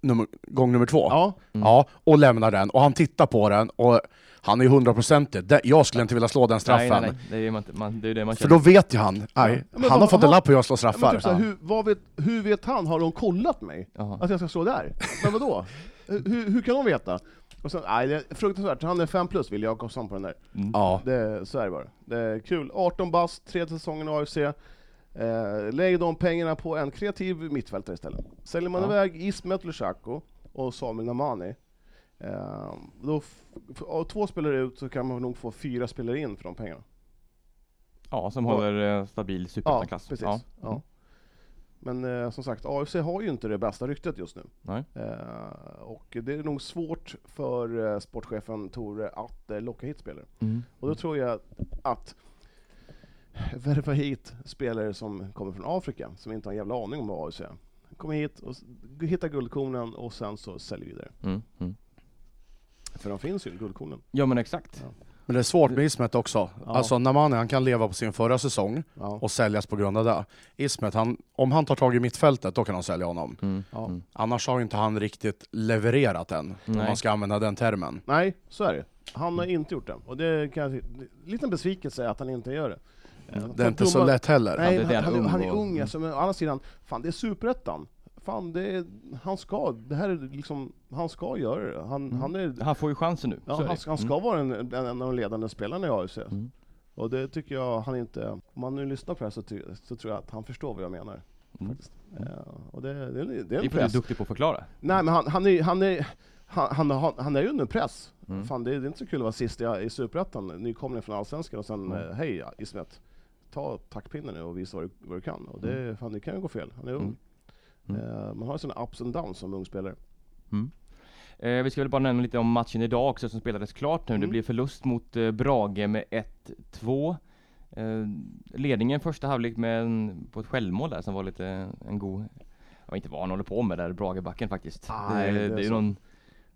Speaker 4: nummer, gång nummer två? Mm.
Speaker 2: Ja.
Speaker 4: Ja, och lämnar den. Och han tittar på den och han är ju hundraprocentig. Det- Jag skulle inte vilja slå den straffen.
Speaker 1: Nej, nej, nej. Det är ju man, inte- man, det, är det man
Speaker 4: För
Speaker 1: känner.
Speaker 4: då vet ju han, nej,
Speaker 2: Ja, men
Speaker 4: han
Speaker 2: vad-
Speaker 4: har fått en
Speaker 2: han-
Speaker 4: lapp och jag slår
Speaker 2: Ja, men
Speaker 4: straffar.
Speaker 2: typ såhär, hur, vad vet, hur vet han? Har de kollat mig?
Speaker 1: Jaha.
Speaker 2: Att jag ska stå där? Men vadå? hur, hur kan de veta? Och sen, nej, det är fruktansvärt. Han är 5 plus, vill jag Jakobsson på den där.
Speaker 4: Ja.
Speaker 2: Det, så är det bara. Det är kul. 18 bast, tredje säsongen i AFC. Eh, lägg de pengarna på en kreativ mittfältare istället. Säljer man
Speaker 1: Ja.
Speaker 2: iväg Ismet Lushako och Samuel Namani, eh, då f- f- av två spelare ut så kan man nog få fyra spelare in för de pengarna.
Speaker 1: Ja, som
Speaker 2: Ja.
Speaker 1: håller eh, stabil
Speaker 2: Ja,
Speaker 1: superettan-klass.
Speaker 2: precis.
Speaker 1: Ja. Mm.
Speaker 2: Ja. Men eh, som sagt, AFC har ju inte det bästa ryktet just nu.
Speaker 1: Nej.
Speaker 2: Eh, och det är nog svårt för eh, sportchefen Tore att eh, locka hit spelare.
Speaker 1: Mm.
Speaker 2: Och då tror jag att värva hit spelare som kommer från Afrika, som inte har en jävla aning om vad AFC är. Kommer hit och s- hittar guldkornen och sen så säljer vi vidare.
Speaker 1: Mm. Mm.
Speaker 2: För de finns ju, guldkornen.
Speaker 1: Ja men exakt.
Speaker 4: Men det är svårt med Ismet också.
Speaker 2: Ja.
Speaker 4: Alltså Namani, han kan leva på sin förra säsong
Speaker 2: Ja.
Speaker 4: och säljas på grund av det. Ismet, han, om han tar tag i mittfältet, då kan de sälja honom.
Speaker 1: Mm.
Speaker 2: Ja.
Speaker 1: Mm.
Speaker 4: Annars har ju inte han riktigt levererat än, om
Speaker 1: Nej.
Speaker 4: man ska använda den termen.
Speaker 2: Nej, så är det. Han har inte gjort det. Och det kan jag ty- det är en liten besvikelse att han inte gör det. Eh,
Speaker 4: Det är
Speaker 2: för
Speaker 4: inte
Speaker 2: dumma-
Speaker 4: så lätt heller.
Speaker 1: Ja, det
Speaker 2: Nej,
Speaker 1: är det,
Speaker 2: han, han,
Speaker 1: ung
Speaker 2: är- han är
Speaker 1: och-
Speaker 2: ung alltså, men å andra sidan, fan det är superettan. Fan, det är, han ska, det här är liksom, han ska göra det. Han, han är,
Speaker 1: Han får ju chansen nu.
Speaker 2: ja,
Speaker 1: så är
Speaker 2: han,
Speaker 1: det.
Speaker 2: han ska vara en, en, en av de ledande spelarna i AFC.
Speaker 1: Mm.
Speaker 2: Och det tycker jag han inte, om man nu lyssnar på det här så, ty, så tror jag att han förstår vad jag menar.
Speaker 1: Mm.
Speaker 2: Faktiskt. Eh, och det, det, det, det är
Speaker 1: Det
Speaker 2: en
Speaker 1: är för att
Speaker 2: press.
Speaker 1: du är duktig på att förklara.
Speaker 2: Nej men han, han, är, han, är, han, han, han, han är ju under press.
Speaker 1: Mm.
Speaker 2: Fan, det, är, det är inte så kul att vara sist i, i Superettan, nykomling från Allsvenskan och sen
Speaker 1: Mm.
Speaker 2: eh, hej Ismet, ta taktpinnen nu och visa vad du, vad du kan. Och det, fan, det kan ju gå fel, han är ung.
Speaker 1: Mm.
Speaker 2: Eh, man har ju sådana ups and downs som ung spelare.
Speaker 1: Eh, vi ska väl bara nämna lite om matchen idag också som spelades klart nu. Det
Speaker 2: Mm.
Speaker 1: blev förlust mot eh, Brage med 1-2. Eh, ledningen första halvlek med en, på ett självmål där som var lite en god Jag vet inte vad han håller på med där, Bragebacken faktiskt.
Speaker 2: Nej,
Speaker 1: det,
Speaker 2: det
Speaker 1: det,
Speaker 2: är
Speaker 1: är
Speaker 2: så.
Speaker 1: någon,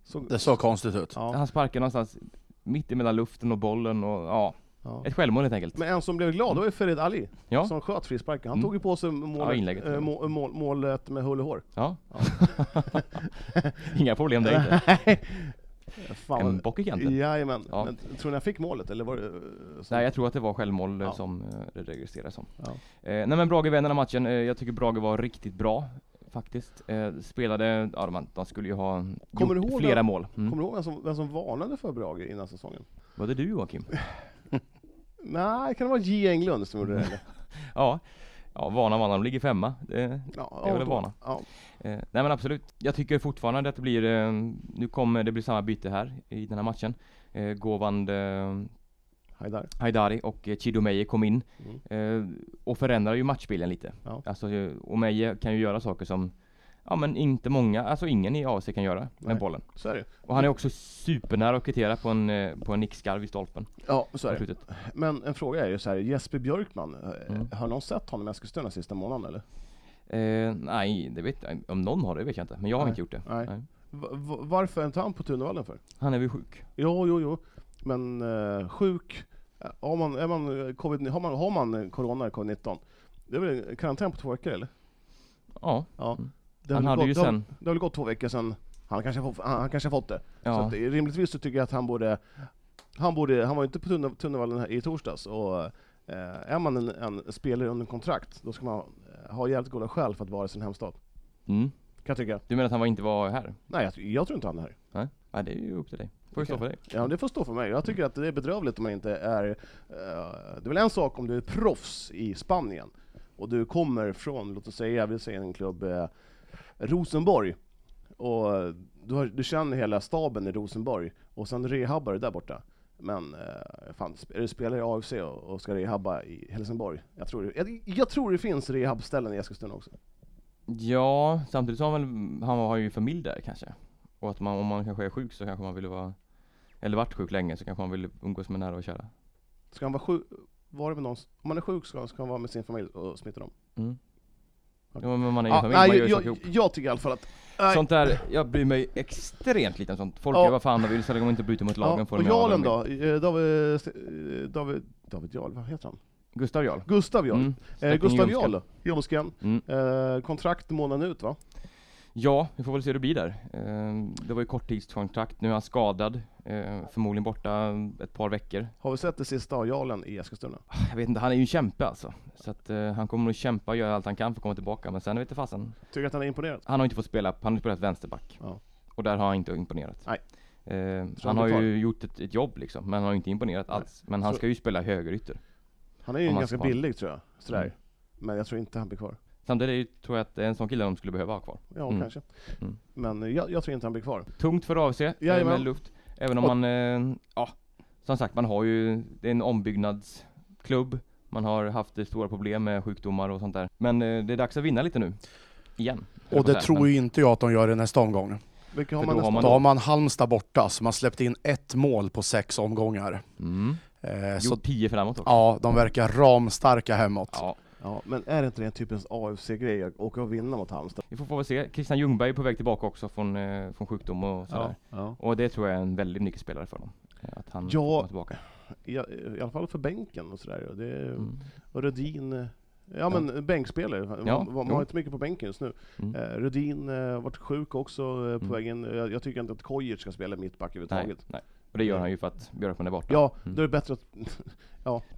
Speaker 2: Så,
Speaker 4: Det såg konstigt ut.
Speaker 2: ja,
Speaker 1: Han sparkar någonstans mitt emellan luften och bollen och ja,
Speaker 2: ja.
Speaker 1: ett självmål helt enkelt.
Speaker 2: Men en som blev glad, det var ju Ferid Ali
Speaker 1: Ja,
Speaker 2: som sköt frisparken. Han
Speaker 1: Mm.
Speaker 2: tog ju på sig målet,
Speaker 1: Ja, inlägget.
Speaker 2: eh, må, mål, målet med hull och hår.
Speaker 1: ja. [LAUGHS] Inga problem där
Speaker 2: [LAUGHS]
Speaker 1: inte.
Speaker 2: Fan.
Speaker 1: En bock i kanten.
Speaker 2: Jajamän.
Speaker 1: Ja.
Speaker 2: Men tror ni han fick målet eller var det... eh, så-
Speaker 1: Nej, jag tror att det var självmål eh,
Speaker 2: Ja.
Speaker 1: som eh, det registrerades som.
Speaker 2: Ja.
Speaker 1: Eh, nej men Brage vände den här matchen. Eh, jag tycker Brage var riktigt bra faktiskt. Eh, spelade, ja de, de skulle ju ha
Speaker 2: Kommer du
Speaker 1: gjort
Speaker 2: ihåg
Speaker 1: flera
Speaker 2: den-
Speaker 1: mål. Mm.
Speaker 2: Kommer du ihåg vem som, vem som varnade för Brage innan säsongen?
Speaker 1: Var det du Joakim?
Speaker 2: Nej, kan det vara J Englund som gjorde det?
Speaker 1: [LAUGHS]
Speaker 2: Eller?
Speaker 1: ja. Ja, vana vana, de ligger femma. Det,
Speaker 2: Ja,
Speaker 1: Det är väl
Speaker 2: ja,
Speaker 1: en vana.
Speaker 2: Ja.
Speaker 1: Eh, nej men absolut. Jag tycker fortfarande att det blir, eh, nu kommer det bli samma byte här i den här matchen. Eh, Govand, eh,
Speaker 2: Haidar.
Speaker 1: Haidari och eh, Chido Meyer kom in
Speaker 2: Mm.
Speaker 1: eh, och förändrar ju matchbilden lite.
Speaker 2: Ja.
Speaker 1: Alltså, eh, och Meyer kan ju göra saker som Ja men inte många, alltså ingen i AFC kan göra med
Speaker 2: Nej.
Speaker 1: bollen.
Speaker 2: Så är det
Speaker 1: Och han är också supernära att kvittera på en, eh, på en nickskarv i stolpen.
Speaker 2: Ja, så är
Speaker 1: på
Speaker 2: det.
Speaker 1: slutet.
Speaker 2: Men en fråga är ju så här, Jesper Björkman, eh,
Speaker 1: Mm.
Speaker 2: har någon sett honom i Eskilstuna sista månaden eller?
Speaker 1: Eh, nej, det vet jag Om någon har det vet jag inte. Men jag har
Speaker 2: Nej.
Speaker 1: inte gjort det.
Speaker 2: Nej. Va- va- varför är inte han på Tunavallen för?
Speaker 1: Han är väl sjuk.
Speaker 2: Jo, jo, jo. Men eh, sjuk, eh, har man, är man eh, COVID, har man, har man eh, corona eller covid-19, det är väl en karantän på två veckor eller?
Speaker 1: Ja,
Speaker 2: Ja.
Speaker 1: Mm.
Speaker 2: Det har
Speaker 1: han
Speaker 2: väl
Speaker 1: hade
Speaker 2: gått,
Speaker 1: ju
Speaker 2: det har-
Speaker 1: sen...
Speaker 2: Det har väl gått två veckor sedan han kanske har fått, han, han kanske har fått det. Så
Speaker 1: Ja.
Speaker 2: att, eh, rimligtvis så tycker jag att han borde, han borde, han var ju inte på Tunna- Tunnavallen här i torsdags och eh, är man en, en spelare under kontrakt, då ska man eh, ha jävligt goda skäl för att vara i sin hemstad.
Speaker 1: Mm.
Speaker 2: Kan jag tycka.
Speaker 1: Du menar att han var inte var här?
Speaker 2: Nej, jag, jag tror inte han är här.
Speaker 1: Nej, Nej det är ju upp till dig. Får ju stå
Speaker 2: Okej.
Speaker 1: för dig.
Speaker 2: Ja, det får stå för mig. Jag tycker att det är bedrövligt om man inte är... eh, det är väl en sak om du är proffs i Spanien och du kommer från, låt oss säga, jag vill säga en klubb, eh, Rosenborg. Och eh, du, har, du känner hela staben i Rosenborg och sen rehabbar du där borta. Men eh, fan, sp- är du spelare i AFC och, och ska rehabba i Helsingborg? Jag tror, det- jag, jag tror det finns rehabställen i Eskilstuna också.
Speaker 1: Ja, samtidigt så har han väl, han har ju familj där kanske. Och att man, om man kanske är sjuk så kanske man vill vara, eller varit sjuk länge så kanske man vill umgås med nära och kära.
Speaker 2: Ska han vara sjuk? Var det med någon, s- om man är sjuk ska, ska han vara med sin familj och smitta dem.
Speaker 1: Mm.
Speaker 2: Ja.
Speaker 1: Ja, men man är ju
Speaker 2: Ja,
Speaker 1: familj, man
Speaker 2: nej,
Speaker 1: gör ju
Speaker 2: jag,
Speaker 1: saker
Speaker 2: jag,
Speaker 1: ihop.
Speaker 2: jag tycker i alla fall att
Speaker 1: Sånt där, jag bryr mig extremt lite om sånt. Folk
Speaker 2: Ja.
Speaker 1: gör vad fan de vill så länge de inte bryter mot lagen får
Speaker 2: och
Speaker 1: de göra vad de
Speaker 2: Jarlen
Speaker 1: vill.
Speaker 2: då? Eh, David, eh, David, David Jarl, vad heter han?
Speaker 1: Gustav Jarl.
Speaker 2: Gustav Jarl.
Speaker 1: Mm.
Speaker 2: Eh,
Speaker 1: Släkting
Speaker 2: Gustav
Speaker 1: Ljungskan.
Speaker 2: Jarl, ljumsken.
Speaker 1: Mm.
Speaker 2: Eh, kontrakt månaden ut va?
Speaker 1: Ja, vi får väl se hur det blir där. Eh, Det var ju korttidskontrakt, nu är han skadad. eh, Förmodligen borta ett par veckor. Ah,
Speaker 2: Har vi sett det sista av Jarlen i Eskilstuna?
Speaker 1: Jag vet inte, han är ju en kämpe alltså. Så att eh, han kommer nog kämpa och göra allt han kan för att komma tillbaka. Men sen vet inte fasen.
Speaker 2: Tycker att han är imponerad?
Speaker 1: Han har inte fått spela, han har spelat vänsterback.
Speaker 2: Ja.
Speaker 1: Och där har han inte imponerat.
Speaker 2: Nej.
Speaker 1: Eh,
Speaker 2: Så han
Speaker 1: han
Speaker 2: blir
Speaker 1: har
Speaker 2: kvar.
Speaker 1: ju gjort ett, ett jobb liksom, men han har ju inte imponerat
Speaker 2: Nej.
Speaker 1: alls. Men han
Speaker 2: Så-
Speaker 1: ska ju spela högerytter.
Speaker 2: Han är ju
Speaker 1: Om han
Speaker 2: ganska
Speaker 1: ska vara.
Speaker 2: billig tror jag, sådär.
Speaker 1: Mm.
Speaker 2: Men jag tror inte han blir kvar.
Speaker 1: Samtidigt är det- tror jag att det är en sån kille de skulle behöva ha kvar.
Speaker 2: Ja,
Speaker 1: Mm.
Speaker 2: kanske.
Speaker 1: Mm.
Speaker 2: Men eh, jag, jag tror inte han blir kvar.
Speaker 1: Tungt för AFC, eh, med
Speaker 2: Jajamän.
Speaker 1: luft. Även om
Speaker 2: Och-
Speaker 1: man, eh, ja, som sagt man har ju, det är en ombyggnadsklubb. Man har haft eh, stora problem med sjukdomar och sånt där. Men eh, det är dags att vinna lite nu. Igen.
Speaker 4: Och det tror ju inte jag att de gör i nästa omgång.
Speaker 2: Vilka har
Speaker 1: För
Speaker 2: man
Speaker 1: då har
Speaker 2: nästa?
Speaker 1: man-
Speaker 4: Då har man Halmstad borta, så man släppte in ett mål på sex omgångar.
Speaker 1: Mm.
Speaker 4: Eh,
Speaker 1: Gjort
Speaker 4: så
Speaker 1: 10 framåt också.
Speaker 4: ja, de verkar ramstarka hemåt.
Speaker 1: Ja.
Speaker 2: Ja, men är det inte typ den typens AFC-grej att åka och vinna mot Halmstad?
Speaker 1: Vi får, får väl se. Christian Ljungberg är på väg tillbaka också från, eh, från sjukdom och sådär.
Speaker 2: ja.
Speaker 1: Och det tror jag är en väldigt nyckelspelare för dem. eh, Att han
Speaker 2: Ja.
Speaker 1: får komma tillbaka.
Speaker 2: I, eh, I alla fall för bänken och sådär. Och det,
Speaker 1: Mm.
Speaker 2: Och Rudin, eh, ja men bänkspelare, man,
Speaker 1: Ja,
Speaker 2: man, man
Speaker 1: jo.
Speaker 2: har inte mycket på bänken just nu.
Speaker 1: Mm.
Speaker 2: Eh, Rudin eh, har varit sjuk också eh, på
Speaker 1: Mm.
Speaker 2: vägen, jag, jag tycker inte att Kojic ska spela mittback
Speaker 1: Nej,
Speaker 2: överhuvudtaget.
Speaker 1: nej. Och det gör han ju för att Björkman är borta.
Speaker 2: Ja,
Speaker 1: Mm.
Speaker 2: då är det bättre att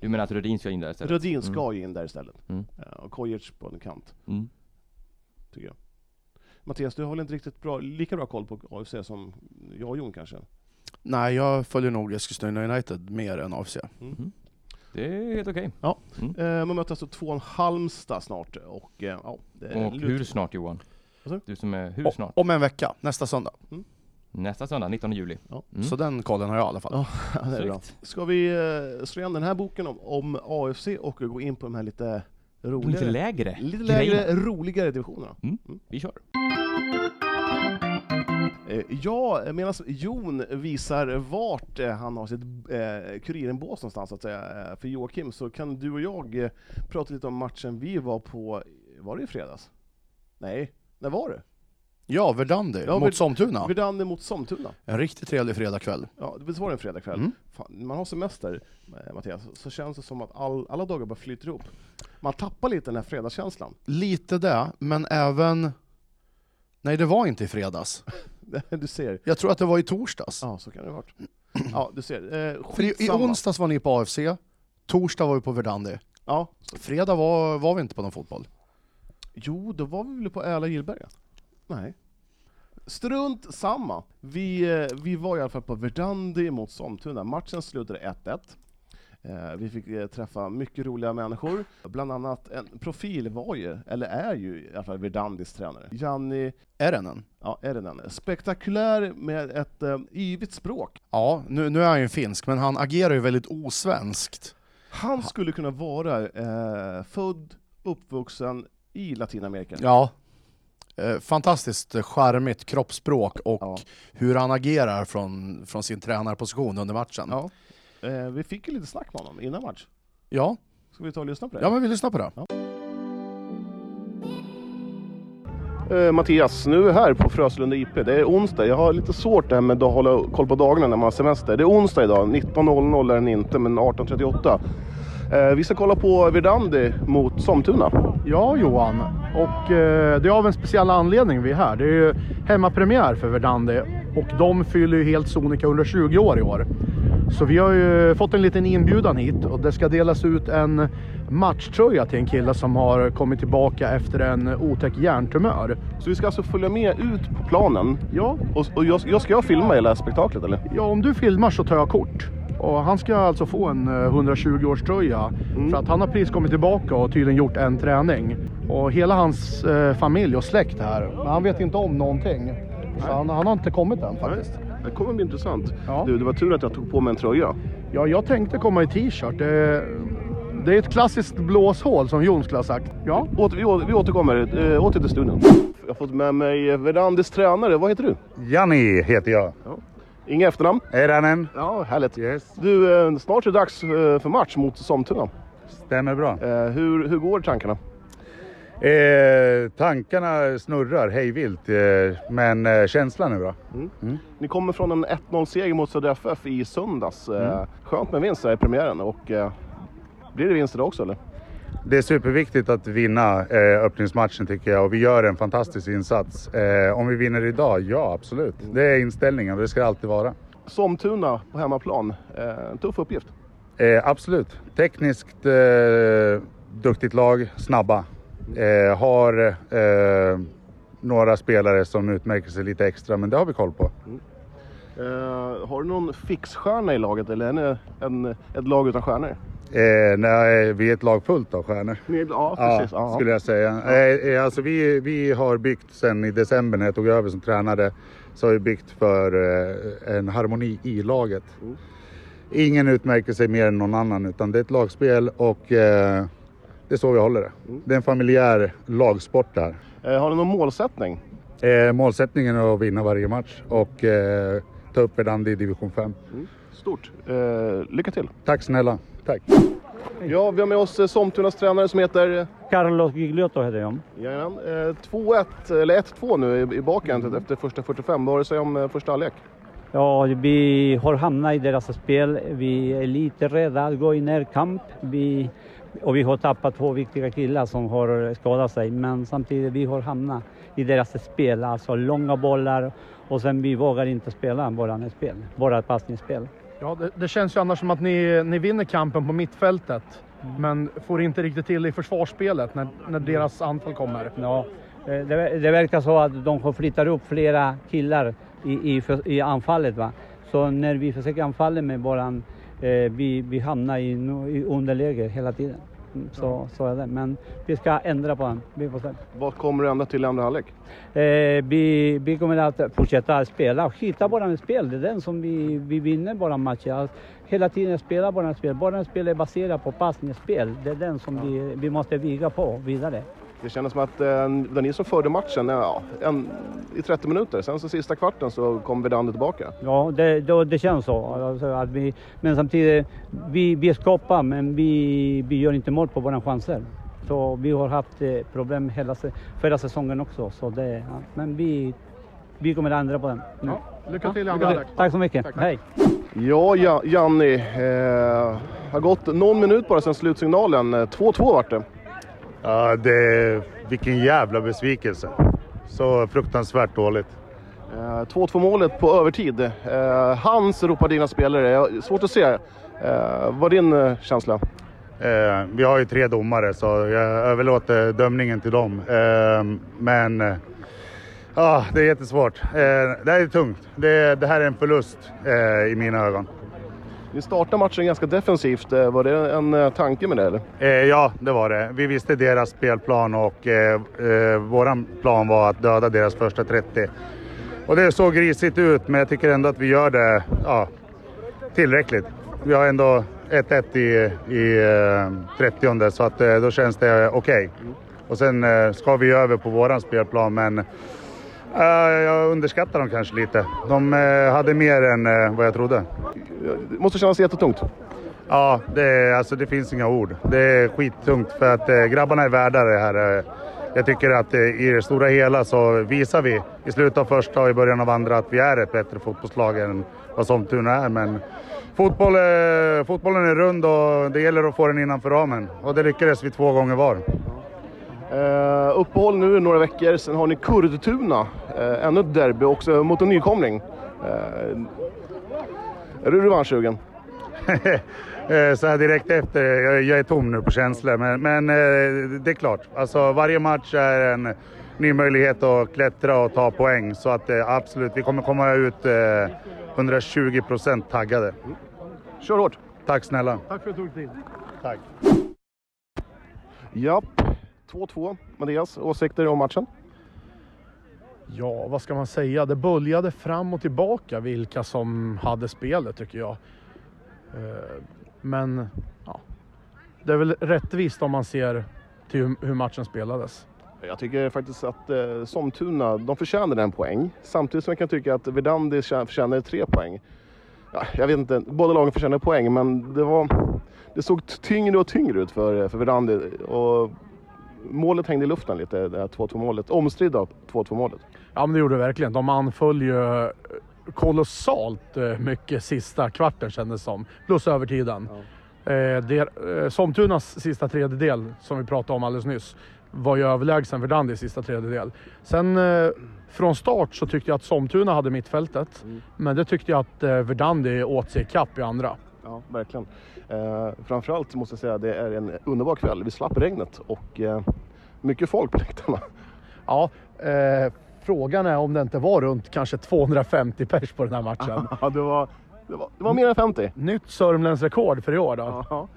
Speaker 1: Du menar att Rudin ska in där istället?
Speaker 2: Rudin ska ju in där istället.
Speaker 1: Mm.
Speaker 2: Eh, och Kojic på en kant,
Speaker 1: Mm.
Speaker 2: tycker jag. Mattias, du har väl inte riktigt bra, lika bra koll på AFC som jag och Jon kanske?
Speaker 4: Nej, jag följer nog Eskilstuna United mer än AFC.
Speaker 1: Det är helt okej.
Speaker 2: Eh, man möter alltså tvåan Halmstad snart och eh, ja, det är
Speaker 1: Och
Speaker 2: lut-
Speaker 1: hur snart Johan?
Speaker 2: Vad sa du?
Speaker 1: Du som är hur
Speaker 4: O-
Speaker 1: snart?
Speaker 4: Om en vecka, nästa söndag.
Speaker 1: Nästa söndag, 19 juli.
Speaker 2: Ja.
Speaker 1: Mm.
Speaker 4: Så den kollen har jag i alla fall.
Speaker 2: Ja. [LAUGHS] Ja, det är bra.
Speaker 1: Snyggt.
Speaker 2: Ska vi eh, slå igen den här boken om, om AFC och gå in på de här lite roligare
Speaker 1: Lite lägre.
Speaker 2: Lite lägre,
Speaker 1: grejerna.
Speaker 2: roligare divisionerna.
Speaker 1: Vi kör.
Speaker 2: Eh, Ja, medan Jon visar vart eh, han har sitt eh, kurirenbås någonstans, så att säga, eh, för Joakim, så kan du och jag eh, prata lite om matchen vi var på, var det i fredags? Nej, När var det?
Speaker 4: Ja, Verdandi
Speaker 2: Ja,
Speaker 4: mot
Speaker 2: Ver-
Speaker 4: Somtuna.
Speaker 2: Verdandi mot Somtuna.
Speaker 4: En riktigt trevlig fredagkväll.
Speaker 2: Ja, det visst var det en fredagkväll?
Speaker 4: Mm.
Speaker 2: Fan, när man har semester, eh, Mattias, så- så känns det som att all, alla dagar bara flyter ihop. Man tappar lite den här fredagskänslan. [LAUGHS]
Speaker 4: Lite det, men även... Nej, det var inte i fredags.
Speaker 2: Du ser.
Speaker 4: Jag tror att det var i torsdags.
Speaker 2: Ja, så kan det ha varit. Ja, du ser. Eh,
Speaker 4: För i, i
Speaker 2: skitsamma.
Speaker 4: onsdags var ni på AFC, torsdag var vi på Verdandi.
Speaker 2: Ja.
Speaker 4: Fredag var, var vi inte på någon fotboll.
Speaker 2: Jo, då var vi väl på Äla Gillberga? Nej. Strunt samma. Vi, eh, vi var i alla fall på Verdandi mot Somtuna. Matchen slutade 1-1. Eh, Vi fick eh, träffa mycket roliga människor. Bland annat en profil var ju, eller är ju i alla fall Verdandis tränare, Janni
Speaker 4: Erenen.
Speaker 2: Ja, Erinen. Spektakulär med ett eh, yvigt språk.
Speaker 4: Ja, nu, nu är han ju finsk, men han agerar ju väldigt osvenskt.
Speaker 2: Han skulle kunna vara eh, född, uppvuxen i Latinamerika.
Speaker 4: Ja. Eh, Fantastiskt eh, charmigt kroppsspråk och
Speaker 2: Ja.
Speaker 4: hur han agerar från, från sin tränarposition under matchen.
Speaker 2: Ja. Eh, vi fick ju lite snack med honom innan match.
Speaker 4: ja.
Speaker 2: Ska vi ta och lyssna på det?
Speaker 4: Ja, men vi lyssnar på det.
Speaker 2: Eh, Mattias, nu är vi här på Fröslunda IP. Det är onsdag. Jag har lite svårt det här med att hålla koll på dagarna när man har semester. Det är onsdag idag. 19.00 är den inte, men 18.38. Eh, vi ska kolla på Verdandi mot Somtuna.
Speaker 5: Ja, Johan. Och eh, det är av en speciell anledning vi är här. Det är ju hemmapremiär för Verdandi och de fyller ju helt sonika 120 år i år. Så vi har ju fått en liten inbjudan hit och det ska delas ut en matchtröja till en kille som har kommit tillbaka efter en otäck hjärntumör.
Speaker 2: Så vi ska alltså följa med ut på planen.
Speaker 5: Ja,
Speaker 2: Och, och jag, jag, ska jag filma hela spektaklet eller?
Speaker 5: ja, om du filmar så tar jag kort. Och han ska alltså få en 120-årströja för att han har precis kommit tillbaka och tydligen gjort en träning. Och hela hans eh, familj och släkt är här, men han vet inte om någonting. Så han, han har inte kommit än faktiskt.
Speaker 2: Det kommer bli intressant.
Speaker 5: Ja.
Speaker 2: Du, det var tur att jag tog på mig en tröja.
Speaker 5: Ja, jag tänkte komma i t-shirt. Det, det är ett klassiskt blåshål som Jon skulle ha sagt. Ja,
Speaker 2: Åter, vi, å- vi återkommer. Eh, åter till studion. Jag har fått med mig Verdandis tränare. Vad heter du?
Speaker 6: Janni heter jag.
Speaker 2: Inga efternamn?
Speaker 6: Eranen.
Speaker 2: Ja, härligt.
Speaker 6: Yes,
Speaker 2: Du, eh, snart är det dags eh, för match mot Somtuna.
Speaker 6: stämmer bra.
Speaker 2: Eh, hur, hur går tankarna?
Speaker 6: Eh, tankarna snurrar hejvilt, eh, men eh, känslan är bra.
Speaker 2: Ni kommer från en 1-0-seger mot Södra FF i söndags. Eh, Skönt med vinst här i premiären. Och, eh, blir det vinst idag också eller?
Speaker 6: Det är superviktigt att vinna eh, öppningsmatchen tycker jag och vi gör en fantastisk insats. Eh, om vi vinner idag? Ja, absolut. Det är inställningen och det ska det alltid vara.
Speaker 2: Somtuna på hemmaplan. Eh, en tuff uppgift.
Speaker 6: Eh, absolut. Tekniskt eh, duktigt lag, snabba. Eh, har eh, några spelare som utmärker sig lite extra, men det har vi koll på.
Speaker 2: Eh, har du någon fixstjärna i laget eller är ni en, ett lag utan stjärnor?
Speaker 6: Eh, nej, vi är ett lag fullt av stjärnor.
Speaker 2: Ja,
Speaker 6: Ja,
Speaker 2: precis. Ja.
Speaker 6: skulle jag säga. Eh, eh, Alltså vi, vi har byggt sen i december när jag tog över som tränare, så har vi byggt för eh, en harmoni i laget.
Speaker 2: Mm.
Speaker 6: Ingen utmärker sig mer än någon annan utan det är ett lagspel och eh, det är så vi håller det.
Speaker 2: Mm.
Speaker 6: Det är en familjär lagsport där.
Speaker 2: Eh, har du någon målsättning?
Speaker 6: Eh, målsättningen är att vinna varje match och eh, ta upp Verdandi i division 5.
Speaker 2: Stort. Eh, lycka till.
Speaker 6: Tack snälla. Tack.
Speaker 2: Ja, vi har med oss eh, Somtunas tränare som heter...
Speaker 7: Carlos Gigliotto heter jag.
Speaker 2: Jajamän. Eh, 2-1, eller 1-2 nu i, i bakhändet efter första 45. Vad har du att säga om eh, första halvlek?
Speaker 7: Ja, vi har hamnat i deras spel. Vi är lite rädda att gå i närkamp. Vi, och vi har tappat två viktiga killar som har skadat sig. Men samtidigt, vi har hamnat i deras spel. Alltså långa bollar och sen vi vågar inte spela våra spel, våra passningsspel.
Speaker 5: ja det, det känns ju annars som att ni, ni vinner kampen på mittfältet. Men får inte riktigt till det i försvarsspelet när, när deras anfall kommer.
Speaker 7: Ja, eh, det, det verkar så att de har flyttat upp flera killar i, i, för- i anfallet. Va? Så när vi försöker anfalla med våran, eh, vi, vi hamnar i, no- i underläge hela tiden. Mm, Så, så är det. Men vi ska ändra på den. Vi, får se.
Speaker 2: Vad kommer du ända till i andra halvlek?
Speaker 7: eh, vi, vi kommer att fortsätta spela och hitta våran spel. Det är den som vi, vi vinner våra matcher. Att Alltså, hela tiden spela våran spel. Våran spel är baserat på passningsspel. Det är den som vi, vi måste viga på vidare.
Speaker 2: Det kändes som att eh, det var ni som förde matchen eh, ja, en, i 30 minuter. Sen så sista kvarten så kom Verdandi tillbaka.
Speaker 7: Ja, det, det, det känns så. Alltså att vi, men samtidigt, vi, vi skapar men vi, vi gör inte mål på våra chanser. dåligt och vi har haft eh, problem hela se- förra säsongen också. Så det, ja. Men vi, vi kommer att ändra på den nu.
Speaker 5: Ja, lycka till i andra
Speaker 7: lycka
Speaker 5: halvlek.
Speaker 7: Tack så mycket.
Speaker 5: Tack, tack.
Speaker 7: Hej!
Speaker 2: Ja, ja Janni. Eh, har gått någon minut bara sedan slutsignalen. Eh, 2-2 vart det.
Speaker 6: Ja, det, vilken jävla besvikelse. Så fruktansvärt dåligt.
Speaker 2: Eh, 2-2 målet på övertid. Eh, Hans ropar dina spelare. Jag- Svårt att se. Eh, vad är din eh, känsla?
Speaker 6: Eh, vi har ju tre domare så jag överlåter dömningen till dem. Eh, men eh, ah, det är jättesvårt. Eh, det här är tungt. Det, det här är en förlust eh, i mina ögon.
Speaker 2: Ni startar matchen ganska defensivt. Eh, var det en eh, tanke med det eller?
Speaker 6: Eh, ja, det var det. Vi visste deras spelplan och eh, eh, vår plan var att döda deras första 30. Och det såg grisigt ut, men jag tycker ändå att vi gör det ja, tillräckligt. Vi har ändå 1-1 i, i eh, 30 så att, eh, då känns det okej. Och sen eh, ska vi över på våran spelplan, men eh, jag underskattar dem kanske lite. De eh, hade mer än eh, vad jag trodde.
Speaker 2: Det måste kännas jättetungt.
Speaker 6: Ja, det, är- alltså, det finns inga ord. Det är skittungt för att eh, grabbarna är värda det här. eh. Jag tycker att eh, i det stora hela så visar vi i slutet av första och i början av andra att vi är ett bättre fotbollslag än vad Sollentuna är. Men fotboll, eh, fotbollen är rund och det gäller att få den innanför ramen. Och det lyckades vi två gånger var.
Speaker 2: Eh, uppehåll nu i några veckor, sen har ni Kurdtuna. Eh, ännu ett derby också mot en nykomling. Eh, är du revanschsugen?
Speaker 6: Eh, Så här direkt efter, jag, jag är tom nu på känslor, men, men eh, det är klart. Alltså, varje match är en ny möjlighet att klättra och ta poäng. Så att eh, absolut, vi kommer komma ut eh, 120 procent taggade.
Speaker 2: Kör hårt!
Speaker 6: Tack snälla.
Speaker 5: Tack för att du tog tid.
Speaker 6: Tack.
Speaker 2: Japp. 2-2. Mattias, åsikter om matchen?
Speaker 5: Ja, vad ska man säga? Det böljade fram och tillbaka vilka som hade spelet tycker jag. Eh, Men ja, det är väl rättvist om man ser till hur- hur matchen spelades.
Speaker 2: Jag tycker faktiskt att eh, Somtuna, de förtjänade en poäng. Samtidigt som jag kan tycka att Verdandi tjä- förtjänade tre poäng. Ja, jag vet inte, båda lagen förtjänade poäng, men det, var, det såg t- tyngre och tyngre ut för, för Verdandi. Och målet hängde i luften lite, det här 2-2 målet. Omstridda 2-2 målet.
Speaker 5: Ja, men det gjorde det verkligen. De anföll ju eh, kolossalt eh, mycket sista kvarten kändes som. Plus övertiden. Eh, der- eh, Somtunas sista tredjedel, som vi pratade om alldeles nyss, var ju överlägsen Verdandis sista tredjedel. Sen eh, från start så tyckte jag att Somtuna hade mittfältet, men det tyckte jag att eh, Verdandi åt sig kapp i andra.
Speaker 2: Ja, verkligen. Eh, framförallt måste jag säga att det är en underbar kväll. Vi slapp regnet och eh, mycket folk på läktarna.
Speaker 5: Ja, eh, frågan är om det inte var runt kanske 250 pers på den här matchen.
Speaker 2: Ja, det, var, det, var, det var mer än 50.
Speaker 5: Nytt Sörmlands rekord för i år då.
Speaker 2: Ja.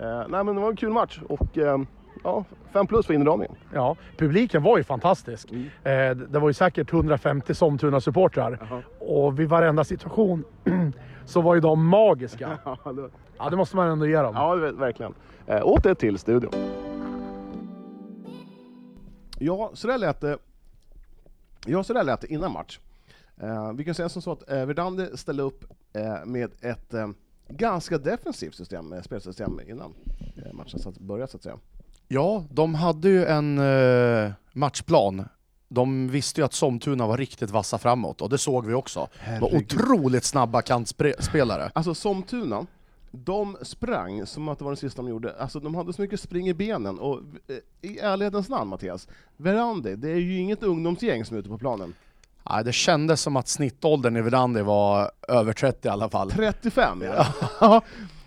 Speaker 2: Eh, nej, men det var en kul match och eh, ja, fem plus för inramningen.
Speaker 5: Ja, publiken var ju fantastisk.
Speaker 2: Mm.
Speaker 5: Eh, d- det var ju säkert 150 Somtuna-supportrar. Och vid varenda situation [CLEARS THROAT] så var ju de magiska.
Speaker 2: [LAUGHS] Ja, det,
Speaker 5: Ja, det måste man ändå ge dem.
Speaker 2: ja det, verkligen. Eh, åter till studion. Ja, så där lät det. Ja, så där lät det innan match. Eh, vi kan säga som så att eh, Verdande ställde upp eh, med ett eh, ganska defensivt system, eh, spelsystem innan eh, matchen satt, började så att säga.
Speaker 4: Ja, de hade ju en eh, matchplan. De visste ju att Somtuna var riktigt vassa framåt och det såg vi också. De var
Speaker 2: Herregud.
Speaker 4: otroligt snabba kantspelare.
Speaker 2: Alltså Somtuna, de sprang som att det var det sista de gjorde. Alltså de hade så mycket spring i benen. Och eh, i ärlighetens namn Mattias, Verandi, det är ju inget ungdomsgäng som är ute på planen.
Speaker 4: Nej, det kändes som att snittåldern i Verandi var över 30 i alla fall.
Speaker 2: 35 är det.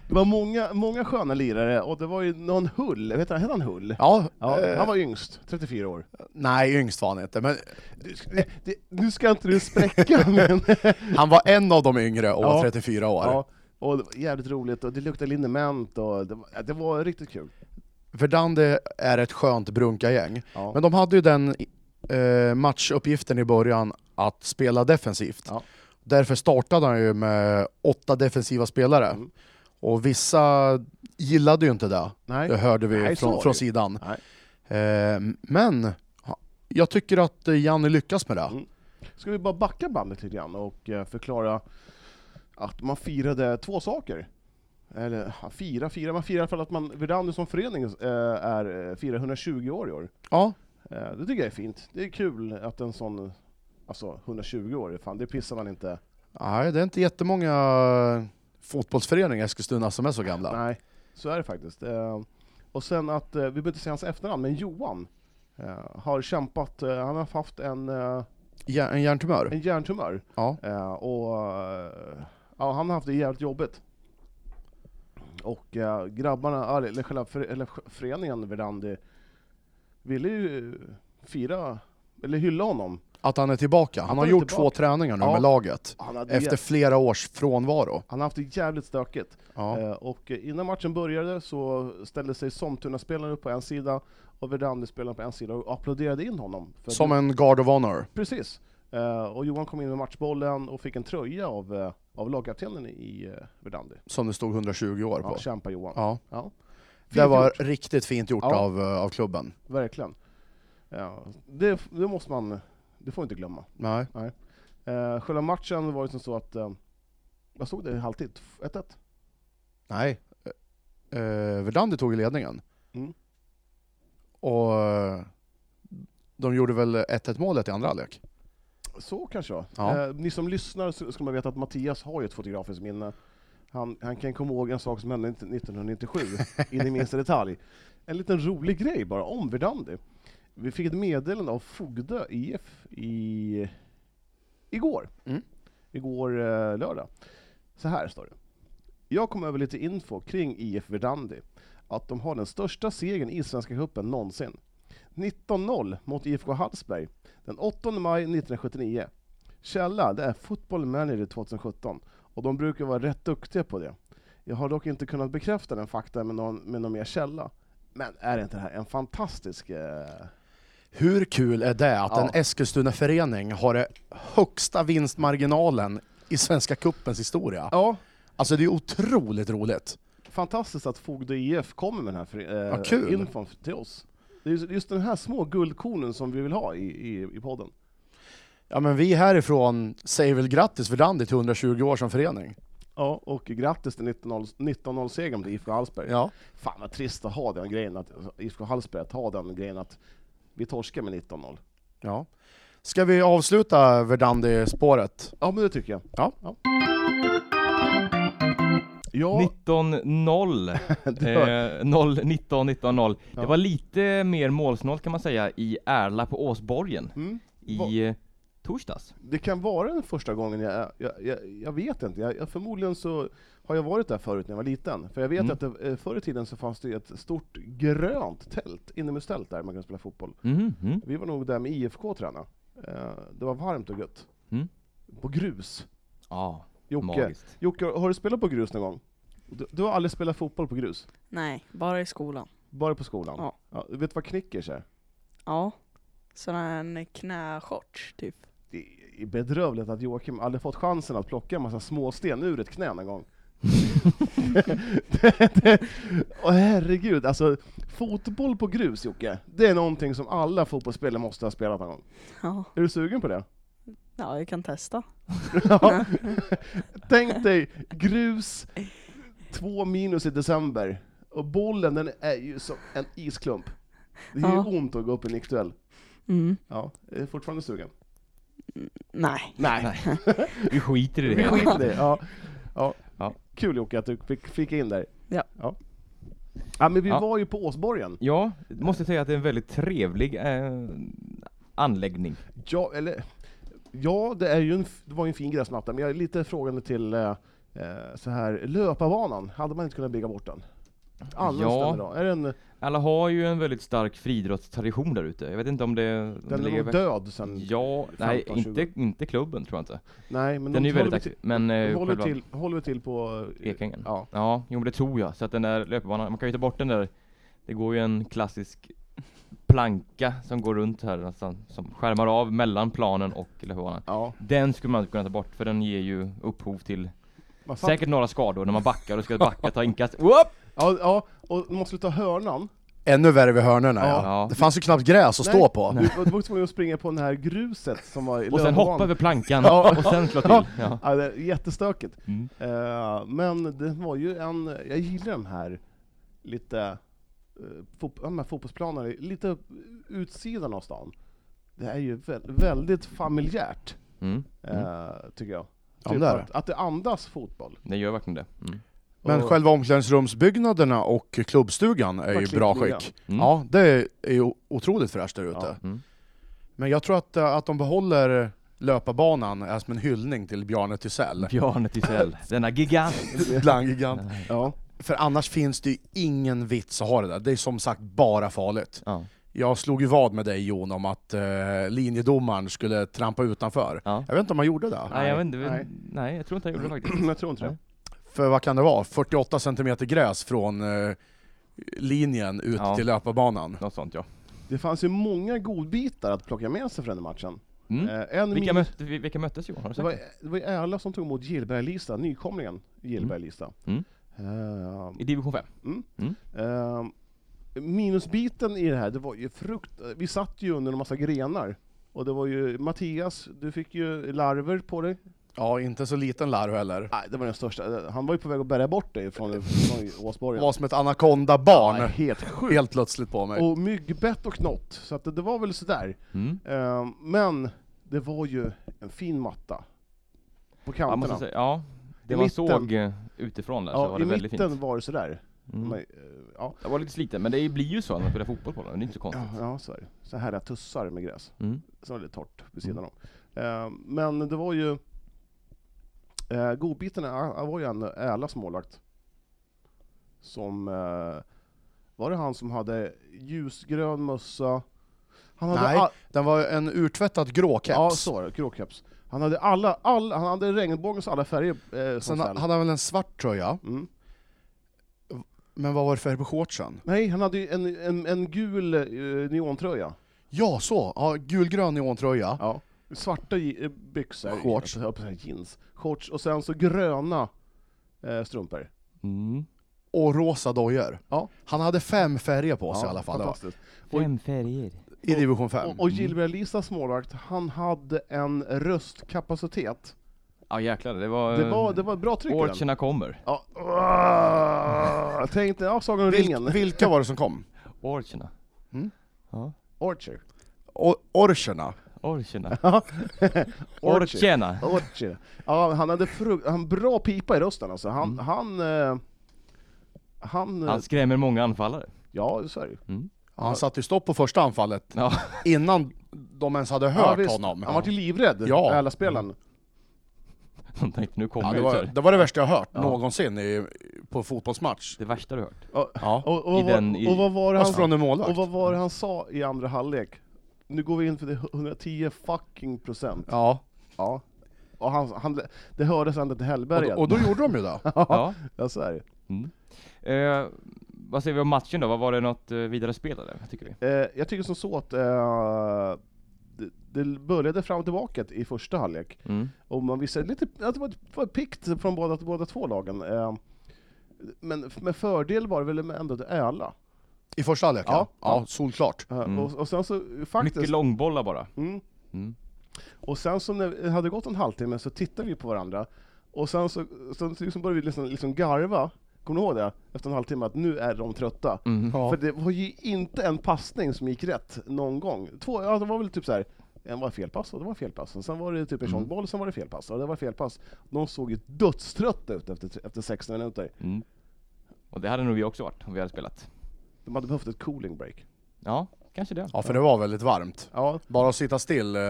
Speaker 2: Det var många, många sköna lirare och det var ju någon Hull, vet du, hette han Hull?
Speaker 4: Ja,
Speaker 2: Ja,
Speaker 4: eh,
Speaker 2: han var yngst, 34 år.
Speaker 4: nej yngst var han inte, men
Speaker 2: Du, det, det, nu ska inte du spräcka men...
Speaker 4: han var en av de yngre och var
Speaker 2: Ja.
Speaker 4: 34 år.
Speaker 2: Ja, och det var jävligt roligt och det luktade liniment och det var, det var riktigt kul.
Speaker 4: Verdande är ett skönt brunka-gäng.
Speaker 2: Ja.
Speaker 4: Men de hade ju den eh, matchuppgiften i början att spela defensivt.
Speaker 2: Ja.
Speaker 4: Därför startade han ju med åtta defensiva spelare.
Speaker 2: Mm.
Speaker 4: Och vissa gillade ju inte det.
Speaker 2: Nej.
Speaker 4: Det hörde vi
Speaker 2: Nej, så var
Speaker 4: från,
Speaker 2: det
Speaker 4: från
Speaker 2: ju.
Speaker 4: sidan.
Speaker 2: Nej.
Speaker 4: Eh, men ha- jag tycker att eh, Janne lyckas med det.
Speaker 2: Mm. Ska vi bara backa bandet lite grann och eh, förklara att man firade två saker Eller ja, fira, fira, man firar i alla fall att man, Verdandi som förening eh, är, eh, firar 120 år i år.
Speaker 4: Ja,
Speaker 2: Eh, Det tycker jag är fint. Det är kul att en sån, alltså 120 år, fan det pissar man inte.
Speaker 4: nej, det är inte jättemånga fotbollsföreningar i Eskilstuna som är så gamla.
Speaker 2: Nej, så är det faktiskt. Eh, Och sen att, eh, vi behöver inte säga hans efternamn, men Johan eh, har kämpat, eh, han har haft en, eh,
Speaker 4: Ja, en hjärntumör?
Speaker 2: en hjärntumör.
Speaker 4: Ja.
Speaker 2: Eh, Och eh, ja, han har haft det jävligt jobbigt. Och eh, grabbarna, eller själva före- eller föreningen Verdandi, ville ju eh, fira, eller hylla honom.
Speaker 4: Att han är tillbaka. Han har
Speaker 2: är
Speaker 4: gjort två
Speaker 2: tillbaka.
Speaker 4: träningar nu
Speaker 2: Ja.
Speaker 4: med laget.
Speaker 2: Han hade
Speaker 4: Efter flera års frånvaro.
Speaker 2: Han har haft det jävligt stökigt.
Speaker 4: Ja.
Speaker 2: Eh, Och eh, innan matchen började så ställde sig Somtuna-spelaren upp på en sida och Verdandi-spelaren på en sida och applåderade in honom. För
Speaker 4: Som
Speaker 2: att-
Speaker 4: en guard of honor.
Speaker 2: Precis. Eh, Och Johan kom in med matchbollen och fick en tröja av, eh, av lagkaptenen i eh, Verdandi.
Speaker 4: Som det stod 120 år
Speaker 2: Ja,
Speaker 4: på.
Speaker 2: kämpa Johan.
Speaker 4: Ja.
Speaker 2: Ja.
Speaker 4: Det
Speaker 2: Fint
Speaker 4: var
Speaker 2: gjort,
Speaker 4: riktigt fint gjort
Speaker 2: Ja.
Speaker 4: av, eh, av klubben.
Speaker 2: verkligen. Ja, det, det måste man, det får man inte glömma.
Speaker 4: Nej.
Speaker 2: Eh, Själva matchen var ju som så att, eh, jag såg det i halvtid, 1-1.
Speaker 4: Nej. Eh, eh, Verdandi tog ju ledningen.
Speaker 2: Mm.
Speaker 4: Och eh, de gjorde väl 1-1 målet i andra halvlek?
Speaker 2: Så kanske det var.
Speaker 4: Ja.
Speaker 2: Eh, ni som lyssnar så ska man veta att Mattias har ju ett fotografiskt minne. Han, han kan komma ihåg en sak som hände 1997,
Speaker 4: [LAUGHS]
Speaker 2: in i minsta detalj. En liten rolig grej bara, om Verdandi. Vi fick ett meddelande av Fogdö IF i, igår.
Speaker 4: Mm.
Speaker 2: Igår eh, lördag. Så här står det. Jag kom över lite info kring IF Verdandi. Att de har den största segern i Svenska cupen någonsin. 19-0 mot IFK Hallsberg den 8 maj 1979. Källa, det är Football Manager 2017 och de brukar vara rätt duktiga på det. Jag har dock inte kunnat bekräfta den faktan med någon, med någon mer källa. Men är inte det här en fantastisk... Eh...
Speaker 4: Hur kul är det att
Speaker 2: Ja.
Speaker 4: en Eskilstuna-förening har den högsta vinstmarginalen i Svenska Kuppens historia?
Speaker 2: Ja,
Speaker 4: Alltså det är otroligt roligt.
Speaker 2: fantastiskt att Fogdö IF kommer med den här fri- eh,
Speaker 4: Vad kul.
Speaker 2: infon till oss. Det är just- just den här små guldkornen som vi vill ha i, i, i podden.
Speaker 4: Ja men vi härifrån säger väl grattis Verdandi till 120 år som förening.
Speaker 2: Ja, och grattis till 19-0 19-0-segern mot IFK Hallsberg.
Speaker 4: Ja.
Speaker 2: Fan vad trist att ha den grejen, att IFK Hallsberg att ha den grejen att vi torskar med 19-0.
Speaker 4: ja. Ska vi avsluta Verdandi-spåret?
Speaker 2: Ja, men det tycker jag.
Speaker 4: Ja.
Speaker 2: Ja,
Speaker 1: 19-0.
Speaker 2: [LAUGHS] det var-
Speaker 1: Eh, 0, 19, 19, 0.
Speaker 2: Ja.
Speaker 1: Det var lite mer målsnålt kan man säga i Ärla på Åsborgen
Speaker 2: mm. Va-
Speaker 1: i eh, torsdags.
Speaker 2: det kan vara den första gången jag, jag, jag, jag vet inte, jag, jag, förmodligen så har jag varit där förut när jag var liten. För jag vet
Speaker 1: Mm.
Speaker 2: att det, eh, förr i tiden så fanns det ju ett stort grönt tält, inomhustält där man kunde spela fotboll.
Speaker 1: Mhm, mm.
Speaker 2: Vi var nog där med IFK och tränade. Eh, det var varmt och gött.
Speaker 1: Mm.
Speaker 2: På grus.
Speaker 1: Ja,
Speaker 2: Jocke,
Speaker 1: magiskt.
Speaker 2: Jocke, har du spelat på grus någon gång? Du, du har aldrig spelat fotboll på grus?
Speaker 3: Nej, bara i skolan.
Speaker 2: Bara på skolan?
Speaker 3: Ja.
Speaker 2: du vet vad knickers är?
Speaker 3: Ja. Sån här en knäshorts typ.
Speaker 2: Det är bedrövligt att Joakim aldrig fått chansen att plocka en massa småsten ur ett knä en gång. [LAUGHS] det, det, åh herregud, alltså fotboll på grus Jocke, det är någonting som alla fotbollsspelare måste ha spelat någon gång.
Speaker 3: Ja,
Speaker 2: Är du sugen på det?
Speaker 3: ja jag kan testa.
Speaker 2: Ja. Tänk dig grus, två minus i december, och bollen den är ju som en isklump. Det gör ju
Speaker 3: Ja.
Speaker 2: ont att gå upp i en nickduell.
Speaker 3: Mm.
Speaker 2: Ja, är du fortfarande sugen?
Speaker 3: Nej.
Speaker 2: Nej.
Speaker 1: Vi skiter i
Speaker 2: [LAUGHS] Vi
Speaker 1: det. [LAUGHS]
Speaker 2: skiter i det. Ja. Ja.
Speaker 1: Ja.
Speaker 2: Kul Jocke att du fick, fick in där.
Speaker 3: Ja.
Speaker 2: ja. Ja, men vi
Speaker 1: Ja.
Speaker 2: var ju på Åsborgen.
Speaker 1: Ja, måste säga att det är en väldigt trevlig eh, anläggning.
Speaker 2: Ja, eller, ja det, är ju en, f- det var ju en fin gräsmatta, men jag är lite frågande till eh, eh, så här, löparbanan. Hade man inte kunnat bygga bort den? Används
Speaker 1: Ja.
Speaker 2: den idag? Är den,
Speaker 1: Alla har ju en väldigt stark friidrottstradition där ute. Jag vet inte om det om det
Speaker 2: den är nog död sen.
Speaker 1: Ja, nej,
Speaker 2: 15,
Speaker 1: inte,
Speaker 2: 20.
Speaker 1: inte klubben tror jag inte.
Speaker 2: Nej, men
Speaker 1: Den
Speaker 2: de
Speaker 1: är ju väldigt
Speaker 2: håller
Speaker 1: aktiv,
Speaker 2: till,
Speaker 1: men
Speaker 2: de
Speaker 1: eh,
Speaker 2: håller,
Speaker 1: själva
Speaker 2: till, håller väl till på... eh,
Speaker 1: Ekängen.
Speaker 2: Ja.
Speaker 1: Ja, jo men det tror jag. Så att den där löpbanan, man kan ju ta bort den där. Det går ju en klassisk planka som går runt här nästan, som skärmar av mellan planen och löpbanan.
Speaker 2: ja.
Speaker 1: Den skulle man inte kunna ta bort för den ger ju upphov till
Speaker 2: Man fatt- [LAUGHS]
Speaker 1: säkert några skador när man backar och ska backa, ta inkast. Whoop!
Speaker 2: Ja, ja, och man skulle ta hörnan,
Speaker 4: Ännu värre vid hörnorna ja.
Speaker 2: Ja.
Speaker 1: Ja.
Speaker 4: Det fanns ju knappt gräs att stå på.
Speaker 2: Du, var- du var tvungen att springa på det här gruset som var i
Speaker 1: Och sen
Speaker 2: lövbanan.
Speaker 1: hoppa över plankan
Speaker 2: Ja.
Speaker 1: och sen slå till. Ja.
Speaker 2: [LAUGHS] Ja, det är jättestökigt.
Speaker 1: Mm.
Speaker 2: Eh, men det var ju en, jag gillar de här lite, uh, fot, de här fotbollsplanerna, lite utsidan av stan. Det är ju vä- väldigt familjärt,
Speaker 1: Mm. Mm.
Speaker 2: eh, tycker jag.
Speaker 4: Ja, men det är det.
Speaker 2: att, att det
Speaker 1: [CLEARS THROAT]
Speaker 2: andas fotboll.
Speaker 1: Det gör verkligen det. Mm.
Speaker 4: Men
Speaker 2: Och-
Speaker 4: själva omklädningsrumsbyggnaderna och klubbstugan är ju i bra
Speaker 2: Klippningen.
Speaker 4: skick.
Speaker 1: Mm.
Speaker 4: Ja, det är ju otroligt fräscht där ute.
Speaker 2: Ja.
Speaker 1: Mm.
Speaker 4: Men jag tror att, eh, att de behåller löparbanan är som en hyllning till
Speaker 2: [LAUGHS]
Speaker 4: Bjarne Thysell.
Speaker 1: Bjarne Thysell, denna gigant.
Speaker 4: Bland gigant.
Speaker 2: Ja.
Speaker 4: För annars finns det ju ingen vits att ha det där. Det är som sagt bara farligt.
Speaker 1: Ja.
Speaker 4: Jag slog ju vad med dig Jon om att eh, linjedomaren skulle trampa utanför.
Speaker 1: Ja.
Speaker 4: Jag vet inte om han gjorde det.
Speaker 1: Nej, jag vet inte.
Speaker 2: Nej.
Speaker 1: Nej, jag tror inte han gjorde det faktiskt.
Speaker 2: [CLEARS THROAT] jag tror inte det.
Speaker 4: För vad kan det vara? 48 centimeter gräs från eh, linjen ut
Speaker 1: Ja.
Speaker 4: till löparbanan.
Speaker 1: Något sånt ja.
Speaker 2: Det fanns ju många godbitar att plocka med sig från den matchen.
Speaker 1: Mm.
Speaker 2: Eh, en
Speaker 1: Vilka,
Speaker 2: mil-
Speaker 1: mötte, vi- vilka möttes Johan? Har du
Speaker 2: Det
Speaker 1: sagt
Speaker 2: var,
Speaker 1: det?
Speaker 2: det var ju Erla som tog emot Gillberg-Lista, nykomlingen Gillberg-Lista.
Speaker 1: Mm.
Speaker 2: Eh,
Speaker 1: I division 5?
Speaker 2: Ehm, minusbiten i det här, det var ju frukt... Vi satt ju under en massa grenar. Och det var ju Mattias, du fick ju larver på dig.
Speaker 4: Ja, inte så liten larv heller.
Speaker 2: Nej, det var den största. Han var ju på väg att bära bort dig från, från
Speaker 4: Det
Speaker 2: Åsborgen.
Speaker 4: var som ett anakondabarn.
Speaker 2: Nej, helt sjukt.
Speaker 4: Helt plötsligt på mig.
Speaker 2: Och myggbett och knott, så att det, det var väl sådär.
Speaker 1: Mm.
Speaker 2: Ehm, men det var ju en fin matta. På
Speaker 1: Jag
Speaker 2: kanterna.
Speaker 1: måste säga, ja. Det
Speaker 2: I
Speaker 1: man
Speaker 2: mitten.
Speaker 1: såg eh, utifrån där så var
Speaker 2: ja,
Speaker 1: det
Speaker 2: I
Speaker 1: väldigt
Speaker 2: mitten
Speaker 1: fint.
Speaker 2: var det sådär.
Speaker 1: Mm.
Speaker 2: Men, eh, ja,
Speaker 1: Jag var lite sliten, men det blir ju så när man spelar fotboll på den. Det är inte så
Speaker 2: ja,
Speaker 1: konstigt.
Speaker 2: ja, så är det. Så här är tussar med gräs.
Speaker 1: Mm.
Speaker 2: som var lite torrt vid
Speaker 4: Mm.
Speaker 2: sidan om. Eh, men det var ju... Eh, godbiten är- är- var ju en Älas målvakt. Som... Eh, var det han som hade ljusgrön mössa? Han hade
Speaker 4: Nej,
Speaker 2: all-
Speaker 4: den var en urtvättad grå keps.
Speaker 2: Ja, så var det. Grå keps. Han hade alla, alla, han hade regnbågens alla färger eh, som
Speaker 4: Sen
Speaker 2: ställ.
Speaker 4: hade han väl en svart tröja,
Speaker 2: Mm.
Speaker 4: men vad var det för på shortsen?
Speaker 2: Nej, han hade ju en, en, en gul eh, neontröja.
Speaker 4: Ja, så! Ja, gulgrön neontröja.
Speaker 2: Ja. Svarta gi- eh, byxor.
Speaker 4: Shorts.
Speaker 2: Jag höll på att säga Jeans. Shorts. Och sen så gröna eh, strumpor.
Speaker 1: Mm.
Speaker 4: och rosa dojor.
Speaker 2: Ja.
Speaker 4: Han hade fem färger på sig i alla fall, det var,
Speaker 2: fantastiskt. Oj.
Speaker 1: Fem färger.
Speaker 4: i division 5.
Speaker 2: Och, och Gilbert Lisas målvakt, han hade en röstkapacitet.
Speaker 1: Ja jäklar, det var,
Speaker 4: Eh,
Speaker 2: Det var, eh, det var bra tryck i den.
Speaker 1: Orcherna kommer.
Speaker 2: Ja. Ah, Jag tänkte, ja, Sagan om ringen.
Speaker 4: Vil, vilka var det som kom?
Speaker 1: Orcherna.
Speaker 4: Mm.
Speaker 1: Ja.
Speaker 2: Orcher.
Speaker 4: O- Orcherna.
Speaker 1: Orcherna.
Speaker 2: Orcher.
Speaker 1: [LAUGHS] Orcherna.
Speaker 2: Orcher. Ja, han hade fru- han bra pipa i rösten alltså.
Speaker 4: Mm.
Speaker 2: Han, han, eh, han, eh,
Speaker 1: Han skrämmer många anfallare.
Speaker 2: ja så är det ju.
Speaker 4: Ja, han satte ju stopp på första anfallet
Speaker 1: Ja. [LAUGHS]
Speaker 4: innan de ens hade
Speaker 2: Ja,
Speaker 4: hört
Speaker 2: visst.
Speaker 4: honom.
Speaker 2: Han var ju livrädd,
Speaker 4: Ja. Mm.
Speaker 2: alla spelaren.
Speaker 1: De tänkte nu kommer
Speaker 4: ja,
Speaker 1: ja,
Speaker 4: det,
Speaker 1: det,
Speaker 4: var, det var det värsta jag hört någonsin i, på fotbollsmatch.
Speaker 1: det värsta du hört.
Speaker 4: Ja.
Speaker 2: Och, och,
Speaker 1: I
Speaker 2: vad-
Speaker 1: den- i-
Speaker 2: och vad var det
Speaker 4: Fast
Speaker 2: han
Speaker 4: från en målvakt.
Speaker 2: Och vad var det han sa i andra halvlek? Nu går vi in för det 110 fucking procent.
Speaker 4: Ja.
Speaker 2: Ja. Och han, han, det hördes ända till
Speaker 4: Och,
Speaker 2: Hellberget.
Speaker 4: då- och då gjorde de ju det.
Speaker 1: Ja.
Speaker 2: ja, så är det.
Speaker 1: Eh, vad säger vi om matchen då? Vad var det något eh, vidare spel eller? Vad tycker vi?
Speaker 2: Eh, jag tycker som så att eh, det, det började fram och tillbaka i första halvlek.
Speaker 1: Mm.
Speaker 2: Och man visste lite att det var, var pikt från båda, båda två lagen. Eh, men f- med fördel var det väl ändå till Öla.
Speaker 4: I första halvlek ja.
Speaker 2: Ja.
Speaker 4: ja. Solklart.
Speaker 2: Eh,
Speaker 1: Mm.
Speaker 2: och, och sen så
Speaker 1: Mycket
Speaker 2: faktiskt...
Speaker 1: långbollar bara.
Speaker 2: Mm.
Speaker 1: Mm.
Speaker 2: Och sen så när det hade gått en halvtimme så tittade vi på varandra och sen så, så, så liksom började vi liksom, liksom garva, kommer du ihåg det? Efter en halvtimme att nu är de trötta. För det var ju inte en passning som gick rätt någon gång. Två, ja, det var väl typ så här. En var felpass och det var felpass, och sen var det typ en sån boll, sen var det felpass och det var felpass. De såg ju dödströtta ut efter, efter 16 minuter.
Speaker 1: Mm. Och det hade nog vi också varit om vi hade spelat.
Speaker 2: De hade behövt ett cooling break.
Speaker 1: Ja, kanske det.
Speaker 4: Ja, för det var väldigt varmt.
Speaker 2: Ja,
Speaker 4: Bara att sitta still. eh,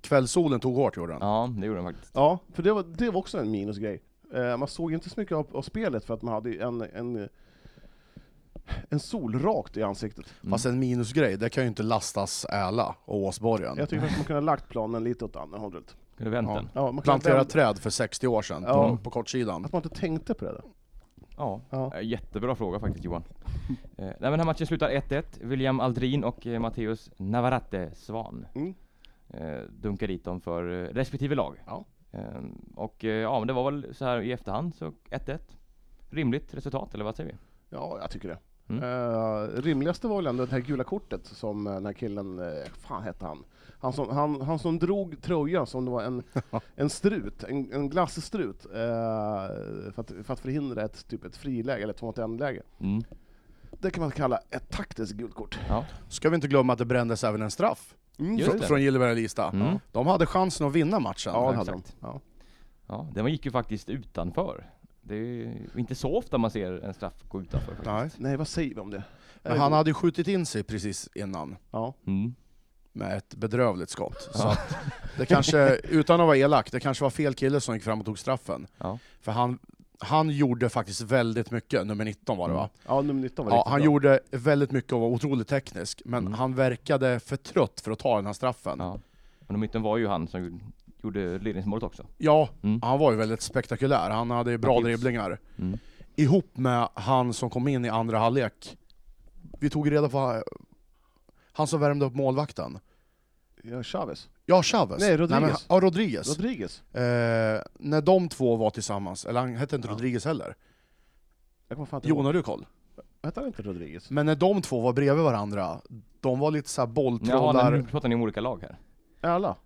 Speaker 4: Kvällssolen tog hårt gjorde den.
Speaker 1: Ja, det gjorde de faktiskt.
Speaker 2: Ja, för det var, det var också en minusgrej. Eh, man såg inte så mycket av, av spelet för att man hade ju en, en, en sol rakt i ansiktet.
Speaker 4: Fast en minusgrej, det kan ju inte lastas Äla och Åsborgen.
Speaker 2: Jag tycker att man kunde ha lagt planen lite åt andra hållet.
Speaker 1: Kunde vänt
Speaker 4: Ja.
Speaker 1: den.
Speaker 2: Ja, man kunde ha
Speaker 4: Plantera
Speaker 2: vänt-
Speaker 4: träd för 60 år sedan
Speaker 2: Ja.
Speaker 4: på, på kortsidan.
Speaker 2: Att man inte tänkte på det. Där.
Speaker 1: Ja.
Speaker 2: Ja.
Speaker 1: Eh, Jättebra fråga faktiskt Johan. Eh, Nej men den här matchen slutar 1-1. William Aldrin och eh, Matteus Navarrete Svan
Speaker 2: Mm.
Speaker 1: eh, dunkar dit dem för eh, respektive lag.
Speaker 2: Ja.
Speaker 1: Eh, och eh, ja, men det var väl så här i efterhand så 1-1. Rimligt resultat eller vad säger vi?
Speaker 2: Ja, jag tycker det.
Speaker 1: Mm.
Speaker 2: Eh, rimligaste var väl ändå det här gula kortet som eh, den här killen, eh, fan hette han? Han som, han, han som drog tröjan som det var [LAUGHS] en, en strut, en, en glasstrut, eh, för, att, för att förhindra ett, typ ett friläge, eller ett 2 mot 1-läge.
Speaker 1: Mm.
Speaker 2: Det kan man kalla ett taktiskt gult kort.
Speaker 1: Ja.
Speaker 4: Ska vi inte glömma att det brändes även en straff
Speaker 1: Just
Speaker 4: från,
Speaker 1: det.
Speaker 4: från Gillberg och Lista.
Speaker 1: Mm.
Speaker 4: De hade chansen att vinna matchen.
Speaker 2: Ja, det
Speaker 1: exakt.
Speaker 2: hade de. Ja.
Speaker 1: Ja, den gick ju faktiskt utanför. Det är ju inte så ofta man ser en straff gå utanför. faktiskt.
Speaker 4: Nej.
Speaker 2: Nej, vad säger vi om det?
Speaker 4: Men han hade ju skjutit in sig precis innan
Speaker 2: Ja.
Speaker 1: Mm.
Speaker 4: med ett bedrövligt skott. Så att det kanske, utan att vara elak, det kanske var fel kille som gick fram och tog straffen.
Speaker 1: Ja.
Speaker 4: För han, han gjorde faktiskt väldigt mycket, nummer 19 var det
Speaker 1: Mm.
Speaker 4: va?
Speaker 2: ja, nummer 19 var
Speaker 4: Ja,
Speaker 2: riktigt
Speaker 4: han
Speaker 2: bra.
Speaker 4: gjorde väldigt mycket och var otroligt teknisk, men
Speaker 1: Mm.
Speaker 4: han verkade för trött för att ta den här straffen. Ja,
Speaker 1: ja. Men om inte var ju han som gjorde- gjorde ledningsmålet också. Mm.
Speaker 4: han var ju väldigt spektakulär, han hade ju bra
Speaker 1: Mattias.
Speaker 4: dribblingar.
Speaker 1: Mm.
Speaker 4: Ihop med han som kom in i andra halvlek. Vi tog reda på han som värmde upp målvakten.
Speaker 2: Ja, Chavez.
Speaker 4: Ja, Chavez.
Speaker 2: Nej, Rodriguez.
Speaker 4: men- ja, Rodriguez.
Speaker 2: Rodriguez.
Speaker 4: Eh, när de två var tillsammans, eller han hette inte
Speaker 2: Ja.
Speaker 4: Rodriguez heller,
Speaker 2: Jag kommer fan inte
Speaker 4: Jon
Speaker 2: ihåg.
Speaker 4: har du koll?
Speaker 2: Hette han inte Rodriguez?
Speaker 4: Men när de två var bredvid varandra, de var lite såhär
Speaker 1: Jaha,
Speaker 4: bolltrollar...
Speaker 1: men nu pratar ni om olika lag här.
Speaker 2: Alla?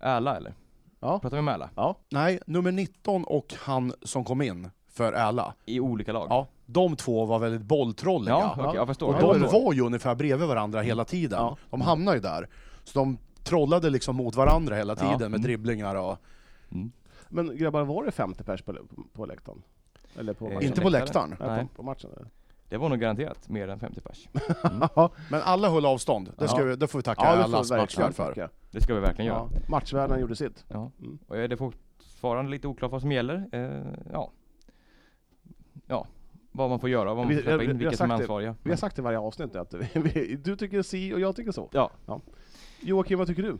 Speaker 1: Äla eller?
Speaker 2: Ja.
Speaker 1: Pratar vi om Äla?
Speaker 4: Nej, nummer 19 och han som kom in för Äla,
Speaker 1: I olika lag?
Speaker 4: ja, de två var väldigt bolltrolliga.
Speaker 1: ja, okej, jag förstår.
Speaker 4: Och
Speaker 1: Jag
Speaker 4: de
Speaker 1: förstår.
Speaker 4: var ju ungefär bredvid varandra hela tiden.
Speaker 2: Mm. Ja.
Speaker 4: De hamnade ju där. Så de trollade liksom mot varandra hela
Speaker 1: Ja.
Speaker 4: tiden med
Speaker 1: Mm.
Speaker 4: dribblingar och...
Speaker 2: Men grabbar, var det 50 pers på, på läktaren? Eller på
Speaker 1: Eh,
Speaker 2: matchen?
Speaker 4: Inte på läktaren.
Speaker 2: Nej,
Speaker 1: Nej.
Speaker 2: På, på matchen. eller?
Speaker 1: Det var nog garanterat mer än 50 pers.
Speaker 4: Men alla höll avstånd. Det, ska
Speaker 2: Ja.
Speaker 4: vi, det får vi tacka
Speaker 2: Ja, det får
Speaker 4: Älas
Speaker 2: vi verkligen
Speaker 4: matchvärd för.
Speaker 2: tacka.
Speaker 1: Det ska vi verkligen göra.
Speaker 2: Ja, matchvärden gjorde sitt.
Speaker 1: Ja.
Speaker 2: Mm.
Speaker 1: Och är det fortfarande lite oklart vad som gäller? Eh, ja. Ja, vad man får göra, vad man
Speaker 2: Vi-
Speaker 1: får släppa
Speaker 2: vi- vi
Speaker 1: in, vilka
Speaker 2: har
Speaker 1: som är
Speaker 2: sagt det.
Speaker 1: ansvariga.
Speaker 4: Mm.
Speaker 2: Vi har sagt i varje avsnitt att vi, [LAUGHS] vi, du tycker si och jag tycker så.
Speaker 1: Ja.
Speaker 2: Joakim, vad tycker du?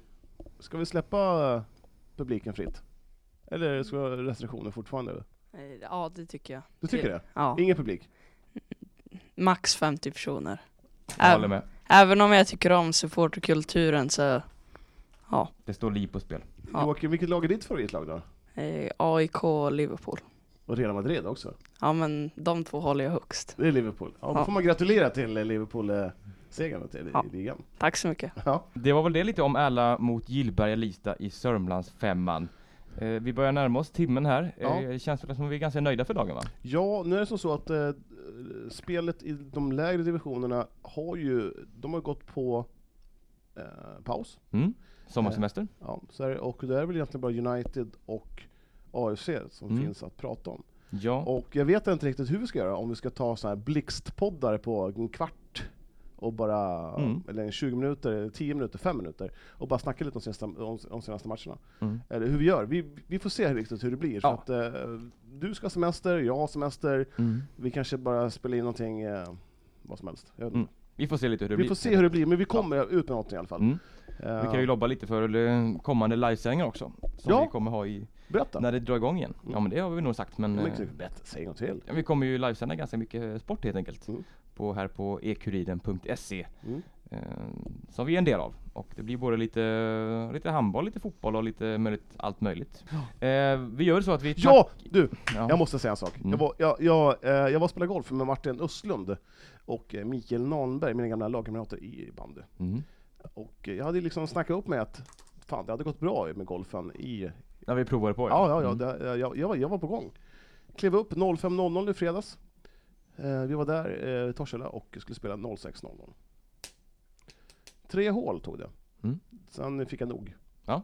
Speaker 2: Ska vi släppa eh, publiken fritt? Eller ska vi ha restriktioner fortfarande?
Speaker 3: Eh, Ja, det tycker jag.
Speaker 2: Du tycker det?
Speaker 3: Ja,
Speaker 2: Ingen publik?
Speaker 3: max 50 personer.
Speaker 1: Jag
Speaker 3: Äm.
Speaker 1: håller med.
Speaker 3: Även om jag tycker om supporterkulturen så
Speaker 1: Det står liv på spel.
Speaker 3: Ja.
Speaker 2: Joakim, vilket lag är ditt favoritlag då?
Speaker 3: eh, AIK och Liverpool.
Speaker 2: Och Real Madrid också?
Speaker 3: Ja, men de två håller jag högst.
Speaker 2: Det är Liverpool. Ja, då
Speaker 3: Ja.
Speaker 2: får man gratulera till Liverpool-segern i
Speaker 3: Ja.
Speaker 2: i ligan.
Speaker 3: Tack så mycket.
Speaker 2: Ja.
Speaker 1: Det var väl det lite om alla mot Gillberga Lista i Sörmlands femman. Eh, vi börjar närma oss timmen här.
Speaker 2: Ja.
Speaker 1: Eh, det känns väl som vi är ganska nöjda för dagen va?
Speaker 2: Ja, nu är det som så att eh, spelet i de lägre divisionerna har ju, de har gått på eh, paus.
Speaker 1: Mm. Sommarsemester.
Speaker 2: Ja, så är det, och det är väl egentligen bara United och AFC som
Speaker 1: Mm.
Speaker 2: finns att prata om.
Speaker 1: Ja.
Speaker 2: Eh. Och jag vet inte riktigt hur vi ska göra, om vi ska ta så här blixtpoddar på en kvart och bara,
Speaker 1: Mm.
Speaker 2: eller en 20 minuter, 10 minuter, 5 minuter och bara snacka lite om senaste, om, om senaste matcherna.
Speaker 1: Mm.
Speaker 2: Eller hur vi gör. Vi, vi får se riktigt hur det blir.
Speaker 1: Ja.
Speaker 2: Så att, eh, du ska ha semester, jag har semester,
Speaker 1: Mm.
Speaker 2: vi kanske bara spelar in någonting, eh, vad som helst. Jag vet
Speaker 1: Mm,
Speaker 2: inte.
Speaker 1: Vi får se lite hur det
Speaker 2: vi
Speaker 1: blir.
Speaker 2: får se hur det blir, men vi kommer ut med någonting i alla fall.
Speaker 1: Mm.
Speaker 2: Eh,
Speaker 1: Vi kan ju lobba lite för eh, kommande livesändningar också. Som
Speaker 2: Ja.
Speaker 1: vi kommer ha i,
Speaker 2: berätta!
Speaker 1: när det drar igång igen. Ja
Speaker 2: Mm.
Speaker 1: men det har vi nog sagt men...
Speaker 2: Men,
Speaker 1: eh,
Speaker 2: gud, berätta, säg något till.
Speaker 1: Ja, vi kommer ju livesända ganska mycket sport helt enkelt.
Speaker 2: Mm.
Speaker 1: På, här på ekuriden.se.
Speaker 2: Mm.
Speaker 1: Eh, som vi är en del av. Och det blir både lite, lite handboll, lite fotboll och lite möjligt, allt möjligt. Eh, vi gör så att vi...
Speaker 2: Ja! Du,
Speaker 1: Ja.
Speaker 2: jag måste säga en sak.
Speaker 1: Mm.
Speaker 2: Jag, var, jag, jag, eh, jag var och spelade golf med Martin Östlund och eh, Mikael Nahnberg, mina gamla lagkamrater i bandy.
Speaker 1: Mm.
Speaker 2: Och eh, jag hade liksom snackat upp med att fan, det hade gått bra med golfen i...
Speaker 1: När vi provar på
Speaker 2: Ja, ja, ja,
Speaker 1: Mm.
Speaker 2: det, jag, jag, var, jag var på gång. Klev upp 05.00 i fredags. Eh, vi var där eh, i Torshälla och skulle spela 06.00. Tre hål tog det.
Speaker 1: Mm.
Speaker 2: Sen fick jag nog.
Speaker 1: Ja.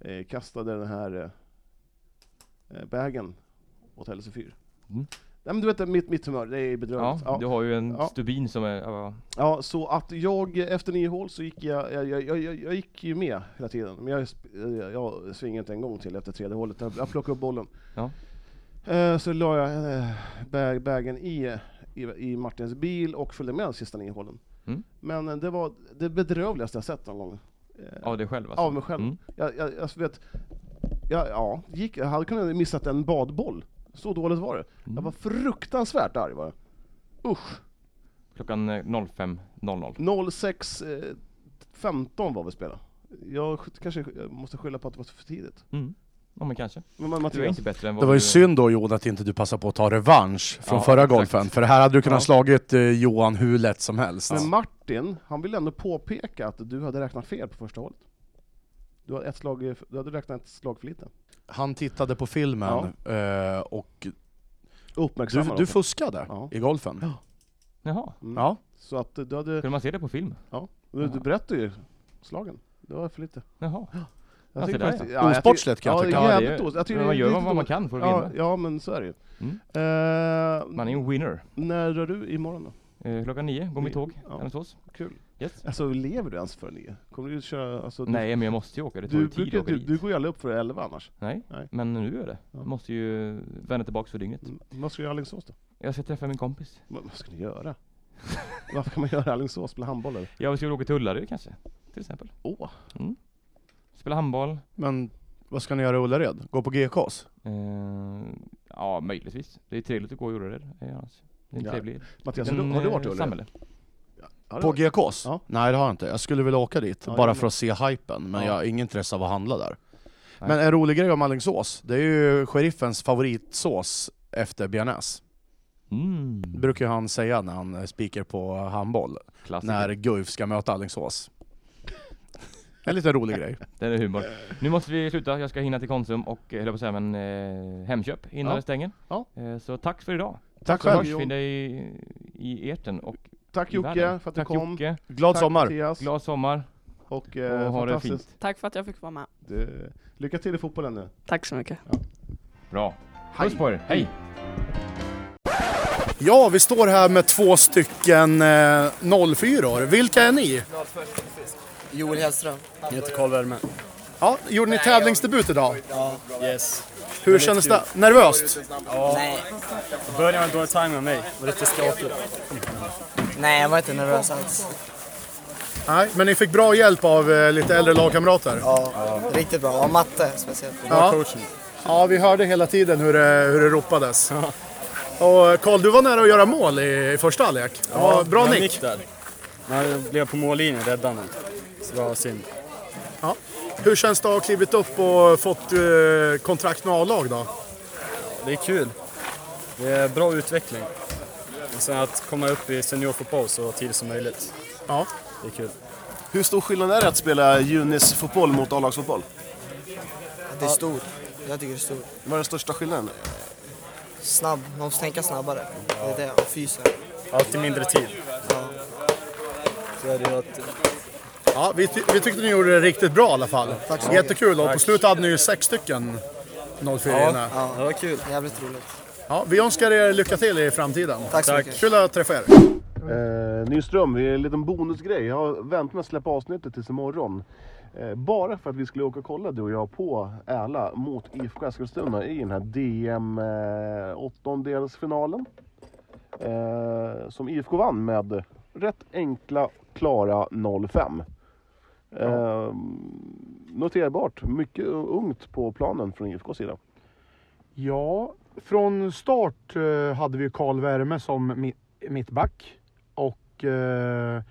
Speaker 2: Eh, kastade den här eh, bagen åt Helse fyr.
Speaker 1: Mm.
Speaker 2: Nej, men du vet, mitt, mitt humör, det är bedrövligt.
Speaker 1: Ja, du har ju en
Speaker 2: Ja.
Speaker 1: stubin som är... Ja,
Speaker 2: Ja, så att jag eh, efter nio hål så gick jag, jag, jag, jag, jag, jag gick ju med hela tiden. Men jag, sp- eh, jag svingade inte en gång till efter tredje hålet. Jag, jag plockade upp bollen.
Speaker 1: Ja.
Speaker 2: Eh, så la jag eh, bag, bagen i, i, i Martins bil och följde med de sista nio hålen.
Speaker 1: Mm.
Speaker 2: Men eh, det var det bedrövligaste jag sett någon gång. Eh,
Speaker 1: av dig själv alltså.
Speaker 2: Av mig själv.
Speaker 1: Mm.
Speaker 2: Jag, jag, jag vet, jag, ja, gick, jag hade kunnat missat en badboll. Så dåligt var det. Jag
Speaker 1: Mm.
Speaker 2: var fruktansvärt arg var jag. Usch.
Speaker 1: Klockan eh, 05.00.
Speaker 2: eh, 06.15 var vi spelade. Jag sk- kanske sk- jag måste skylla på att det var för tidigt.
Speaker 1: Mm. Ja men kanske.
Speaker 2: Men man-
Speaker 1: Du är
Speaker 2: Mattias,
Speaker 1: inte bättre än vad
Speaker 4: Det var ju
Speaker 1: du-
Speaker 4: synd då Jon att inte du passade på att ta revansch från
Speaker 1: Ja,
Speaker 4: förra
Speaker 1: exakt.
Speaker 4: golfen, för det här hade du kunnat
Speaker 1: Ja.
Speaker 4: slagit eh, Johan hur lätt som helst.
Speaker 2: men Martin, han vill ändå påpeka att du hade räknat fel på första hålet. Du hade, ett slag, du hade räknat ett slag för lite.
Speaker 4: Han tittade på filmen eh, och du,
Speaker 2: Uppmärksamma
Speaker 4: du
Speaker 2: dem.
Speaker 4: fuskade
Speaker 2: Ja.
Speaker 4: i golfen.
Speaker 1: Jaha,
Speaker 2: Mm.
Speaker 4: Ja.
Speaker 2: Så att du hade...
Speaker 1: kunde man se det på film?
Speaker 2: Du, du berättade ju slagen. Det var för lite.
Speaker 1: Jaha.
Speaker 2: Jag
Speaker 1: Ja,
Speaker 2: tycker
Speaker 1: se Alltså, där,
Speaker 2: faktiskt-
Speaker 4: ja.
Speaker 2: jag tycker-
Speaker 4: Osportsligt kan jag
Speaker 2: ja,
Speaker 4: tycka.
Speaker 2: det är
Speaker 1: Ja, det
Speaker 2: jävligt
Speaker 1: är-
Speaker 2: os- jag tycker
Speaker 1: men
Speaker 2: det
Speaker 1: man
Speaker 2: är
Speaker 1: gör
Speaker 2: lite
Speaker 1: vad man
Speaker 2: dåligt.
Speaker 1: kan för att
Speaker 2: Ja,
Speaker 1: vinna.
Speaker 2: ja, men så är det ju.
Speaker 1: Mm.
Speaker 2: Eh,
Speaker 1: Man är ju en winner.
Speaker 2: När rör du imorgon då?
Speaker 1: Eh, klockan nio går mitt
Speaker 2: Nio,
Speaker 1: tåg,
Speaker 2: ja.
Speaker 1: Alingsås.
Speaker 2: Kul.
Speaker 1: Yes.
Speaker 2: Alltså lever du ens för nio? Kommer du köra, alltså,
Speaker 1: Nej men jag måste ju åka,
Speaker 2: du,
Speaker 1: det tar ju
Speaker 2: du,
Speaker 1: tid
Speaker 2: brukar,
Speaker 1: att åka
Speaker 2: du,
Speaker 1: dit.
Speaker 2: du går ju aldrig upp för elva annars.
Speaker 1: Nej,
Speaker 2: Nej.
Speaker 1: men nu gör jag det.
Speaker 2: Ja.
Speaker 1: Jag måste ju vända tillbaks för dygnet.
Speaker 2: Mm, Vad ska du göra i Alingsås då?
Speaker 1: Jag ska träffa min kompis.
Speaker 2: Vad vad ska ni göra? [LAUGHS] Varför kan man göra i Alingsås? Spela handboll eller?
Speaker 1: Jag ska väl åka till Ullared kanske, till exempel. Mm.
Speaker 2: Åh!
Speaker 1: Spela handboll.
Speaker 4: Men vad ska ni göra i Ullared? Gå på GKs?
Speaker 1: Eh, ja, möjligtvis. Det är trevligt att gå i Ullared eh, annars. Det är en
Speaker 2: Ja.
Speaker 1: trevlig
Speaker 2: Mattias, har
Speaker 1: liten,
Speaker 2: du, har du varit i
Speaker 1: eh,
Speaker 2: Ullared?
Speaker 1: samhälle.
Speaker 2: Har du
Speaker 4: På
Speaker 2: varit?
Speaker 4: GKs?
Speaker 2: Ja.
Speaker 4: Nej det har jag inte. Jag skulle vilja åka dit,
Speaker 2: Ja,
Speaker 4: bara
Speaker 2: jag
Speaker 4: för att se hypen, men
Speaker 1: Ja.
Speaker 4: jag har ingen intresse av att handla där.
Speaker 1: Nej.
Speaker 4: Men en rolig grej om Alingsås, det är ju sheriffens favoritsås efter BNS.
Speaker 1: Mm.
Speaker 4: Det brukar ju han säga när han eh, speaker på handboll,
Speaker 2: Alltså,
Speaker 1: Klassiker.
Speaker 4: när Guif ska möta Alingsås. En liten rolig grej.
Speaker 1: Den är humor. Nu måste vi sluta, jag ska hinna till Konsum och eh, höll jag på att säga men eh, Hemköp innan
Speaker 2: Ja.
Speaker 1: det stänger.
Speaker 2: Ja.
Speaker 1: Eh, så tack för idag.
Speaker 4: Tack
Speaker 1: Så hörs
Speaker 2: Tack,
Speaker 4: själv.
Speaker 2: Jon.
Speaker 1: vi dig i, i Erten och
Speaker 2: Tack
Speaker 1: i världen.
Speaker 2: Jocke för att du
Speaker 1: Tack
Speaker 2: kom.
Speaker 1: Jocke.
Speaker 4: Glad
Speaker 2: Tack,
Speaker 4: sommar!
Speaker 2: Mattias.
Speaker 1: Glad sommar
Speaker 2: Och,
Speaker 1: och
Speaker 2: eh,
Speaker 1: ha det
Speaker 2: fantastiskt.
Speaker 1: fint.
Speaker 3: Tack för att jag fick vara med.
Speaker 2: Du, lycka till i fotbollen nu.
Speaker 3: Tack så mycket.
Speaker 1: Bra. Puss på er. Hej.
Speaker 4: Ja, vi står här med två stycken eh, 04 Vilka är ni?
Speaker 8: Joel Hellström.
Speaker 4: Ja, gjorde ni tävlingsdebut idag?
Speaker 8: Yes.
Speaker 4: Hur kändes det? Nervöst?
Speaker 9: Början var en dålig timing med mig. Var lite skakig.
Speaker 8: Nej, jag var inte nervös alls.
Speaker 4: Nej, men ni fick bra hjälp av eh, lite äldre lagkamrater.
Speaker 8: Ja, Riktigt bra. Och matte speciellt.
Speaker 4: Ja. ja, vi hörde hela tiden hur det, hur det ropades. Och eh, Karl, du var nära att göra mål i, i första halvlek. Ja, bra
Speaker 9: Jag
Speaker 4: nick.
Speaker 9: nickade. Men jag blev på mållinjen och räddade honom. Så det var synd.
Speaker 4: Ja. Hur känns det att ha klivit upp och fått eh, kontrakt med A-lag då?
Speaker 9: Det är kul. Det är bra utveckling. Och sen att komma upp i seniorfotboll så tidigt som möjligt.
Speaker 4: Ja.
Speaker 9: Det är kul.
Speaker 10: Hur stor skillnad är det att spela junisfotboll mot A-lagsfotboll?
Speaker 8: Det är stort. Jag tycker det är stort.
Speaker 10: Vad är den största skillnaden?
Speaker 8: Snabb. Man måste tänka snabbare. Det är det. Och fysen.
Speaker 9: Alltid mindre tid.
Speaker 4: Ja, vi, ty- vi tyckte ni gjorde det riktigt bra i alla fall. Jättekul och på slutet hade ni ju sex stycken 04 ja. inne.
Speaker 8: Ja,
Speaker 9: Det var kul.
Speaker 8: jävligt roligt.
Speaker 4: Ja, Vi önskar er lycka till i framtiden.
Speaker 8: Tack så mycket.
Speaker 4: Kul att träffa er.
Speaker 2: Eh, Nyström, vi är en liten bonusgrej. Jag har väntat med att släppa avsnittet tills imorgon. Eh, bara för att vi skulle åka och kolla du och jag på Äla mot IFK Eskilstuna i den här DM eh, åttondelsfinalen. Eh, som IFK vann med rätt enkla, klara 0-5. Eh, noterbart, mycket ungt på planen från IFKs sida.
Speaker 5: Ja, från start eh, hade vi ju Karl Värme som mi- mittback och eh,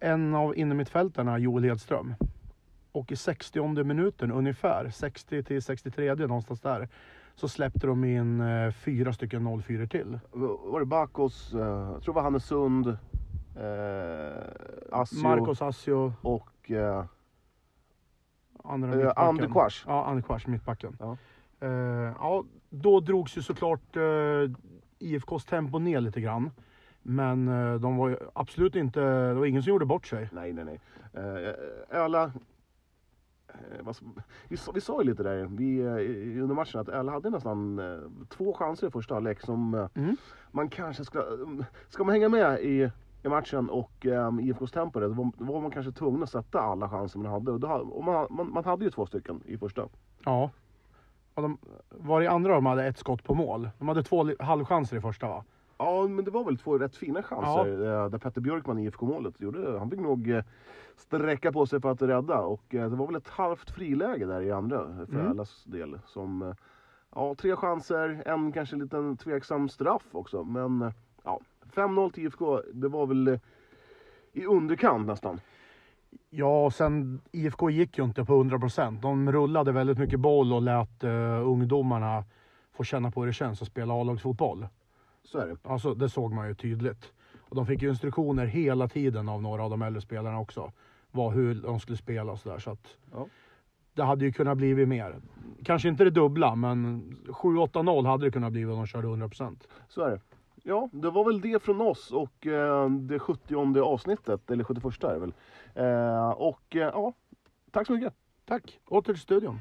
Speaker 5: en av innermittfältarna Joel Hedström. Och i 60 minuten ungefär, 60 till 63 någonstans där, så släppte de in eh, fyra stycken 04 till.
Speaker 2: Var det Bakos, eh, jag tror det var Hannesund, eh, Asio
Speaker 5: Marcos Asio,
Speaker 2: och... Eh,
Speaker 5: andra
Speaker 2: Eh,
Speaker 5: mittbacken.
Speaker 2: Andy Quash.
Speaker 5: Ja, Andy Quash, mittbacken.
Speaker 2: Ja.
Speaker 5: Eh, ja, då drogs ju såklart eh, IFKs tempo ner lite grann. Men eh, de var ju absolut inte, det var ingen som gjorde bort sig.
Speaker 2: nej, nej, nej. Eh, Öla... Eh, vad, vi, sa- vi sa ju lite där vi, eh, i- under matchen att Öla hade nästan eh, två chanser i första halvlek som eh,
Speaker 5: Mm.
Speaker 2: man kanske ska... eh, Ska man hänga med i, i matchen och eh, IFKs tempo då var, då var man kanske tvungen att sätta alla chanser man hade. Och då, ha- och man, man, man hade ju två stycken i första.
Speaker 5: Ja. Och de, var det andra de hade ett skott på mål? De hade två li- halvchanser i första va?
Speaker 2: Ja, men det var väl två rätt fina chanser eh, där Petter Björkman i IFK-målet gjorde. Han fick nog eh, sträcka på sig för att rädda och eh, det var väl ett halvt friläge där i andra eh, för
Speaker 5: Mm.
Speaker 2: allas del. Som, eh, ja, tre chanser, en kanske liten tveksam straff också. Men eh, ja, 5-0 till IFK, det var väl eh, i underkant nästan.
Speaker 4: Ja, och sen IFK gick ju inte på 100 procent. De rullade väldigt mycket boll och lät eh, ungdomarna få känna på hur det känns att spela A-lagsfotboll.
Speaker 11: Så är det.
Speaker 4: Alltså, det såg man ju tydligt. Och de fick ju instruktioner hela tiden av några av de äldre spelarna också. Vad, hur de skulle spela och sådär. Så att Det hade ju kunnat blivit mer. Kanske inte det dubbla, men 7-8-0 hade det kunnat blivit om de körde 100 procent.
Speaker 2: Så är det. Ja, det var väl det från oss och eh, det 70 avsnittet, eller 71 är det väl. Eh, och eh, ja, tack så mycket.
Speaker 4: Tack. Åter till studion.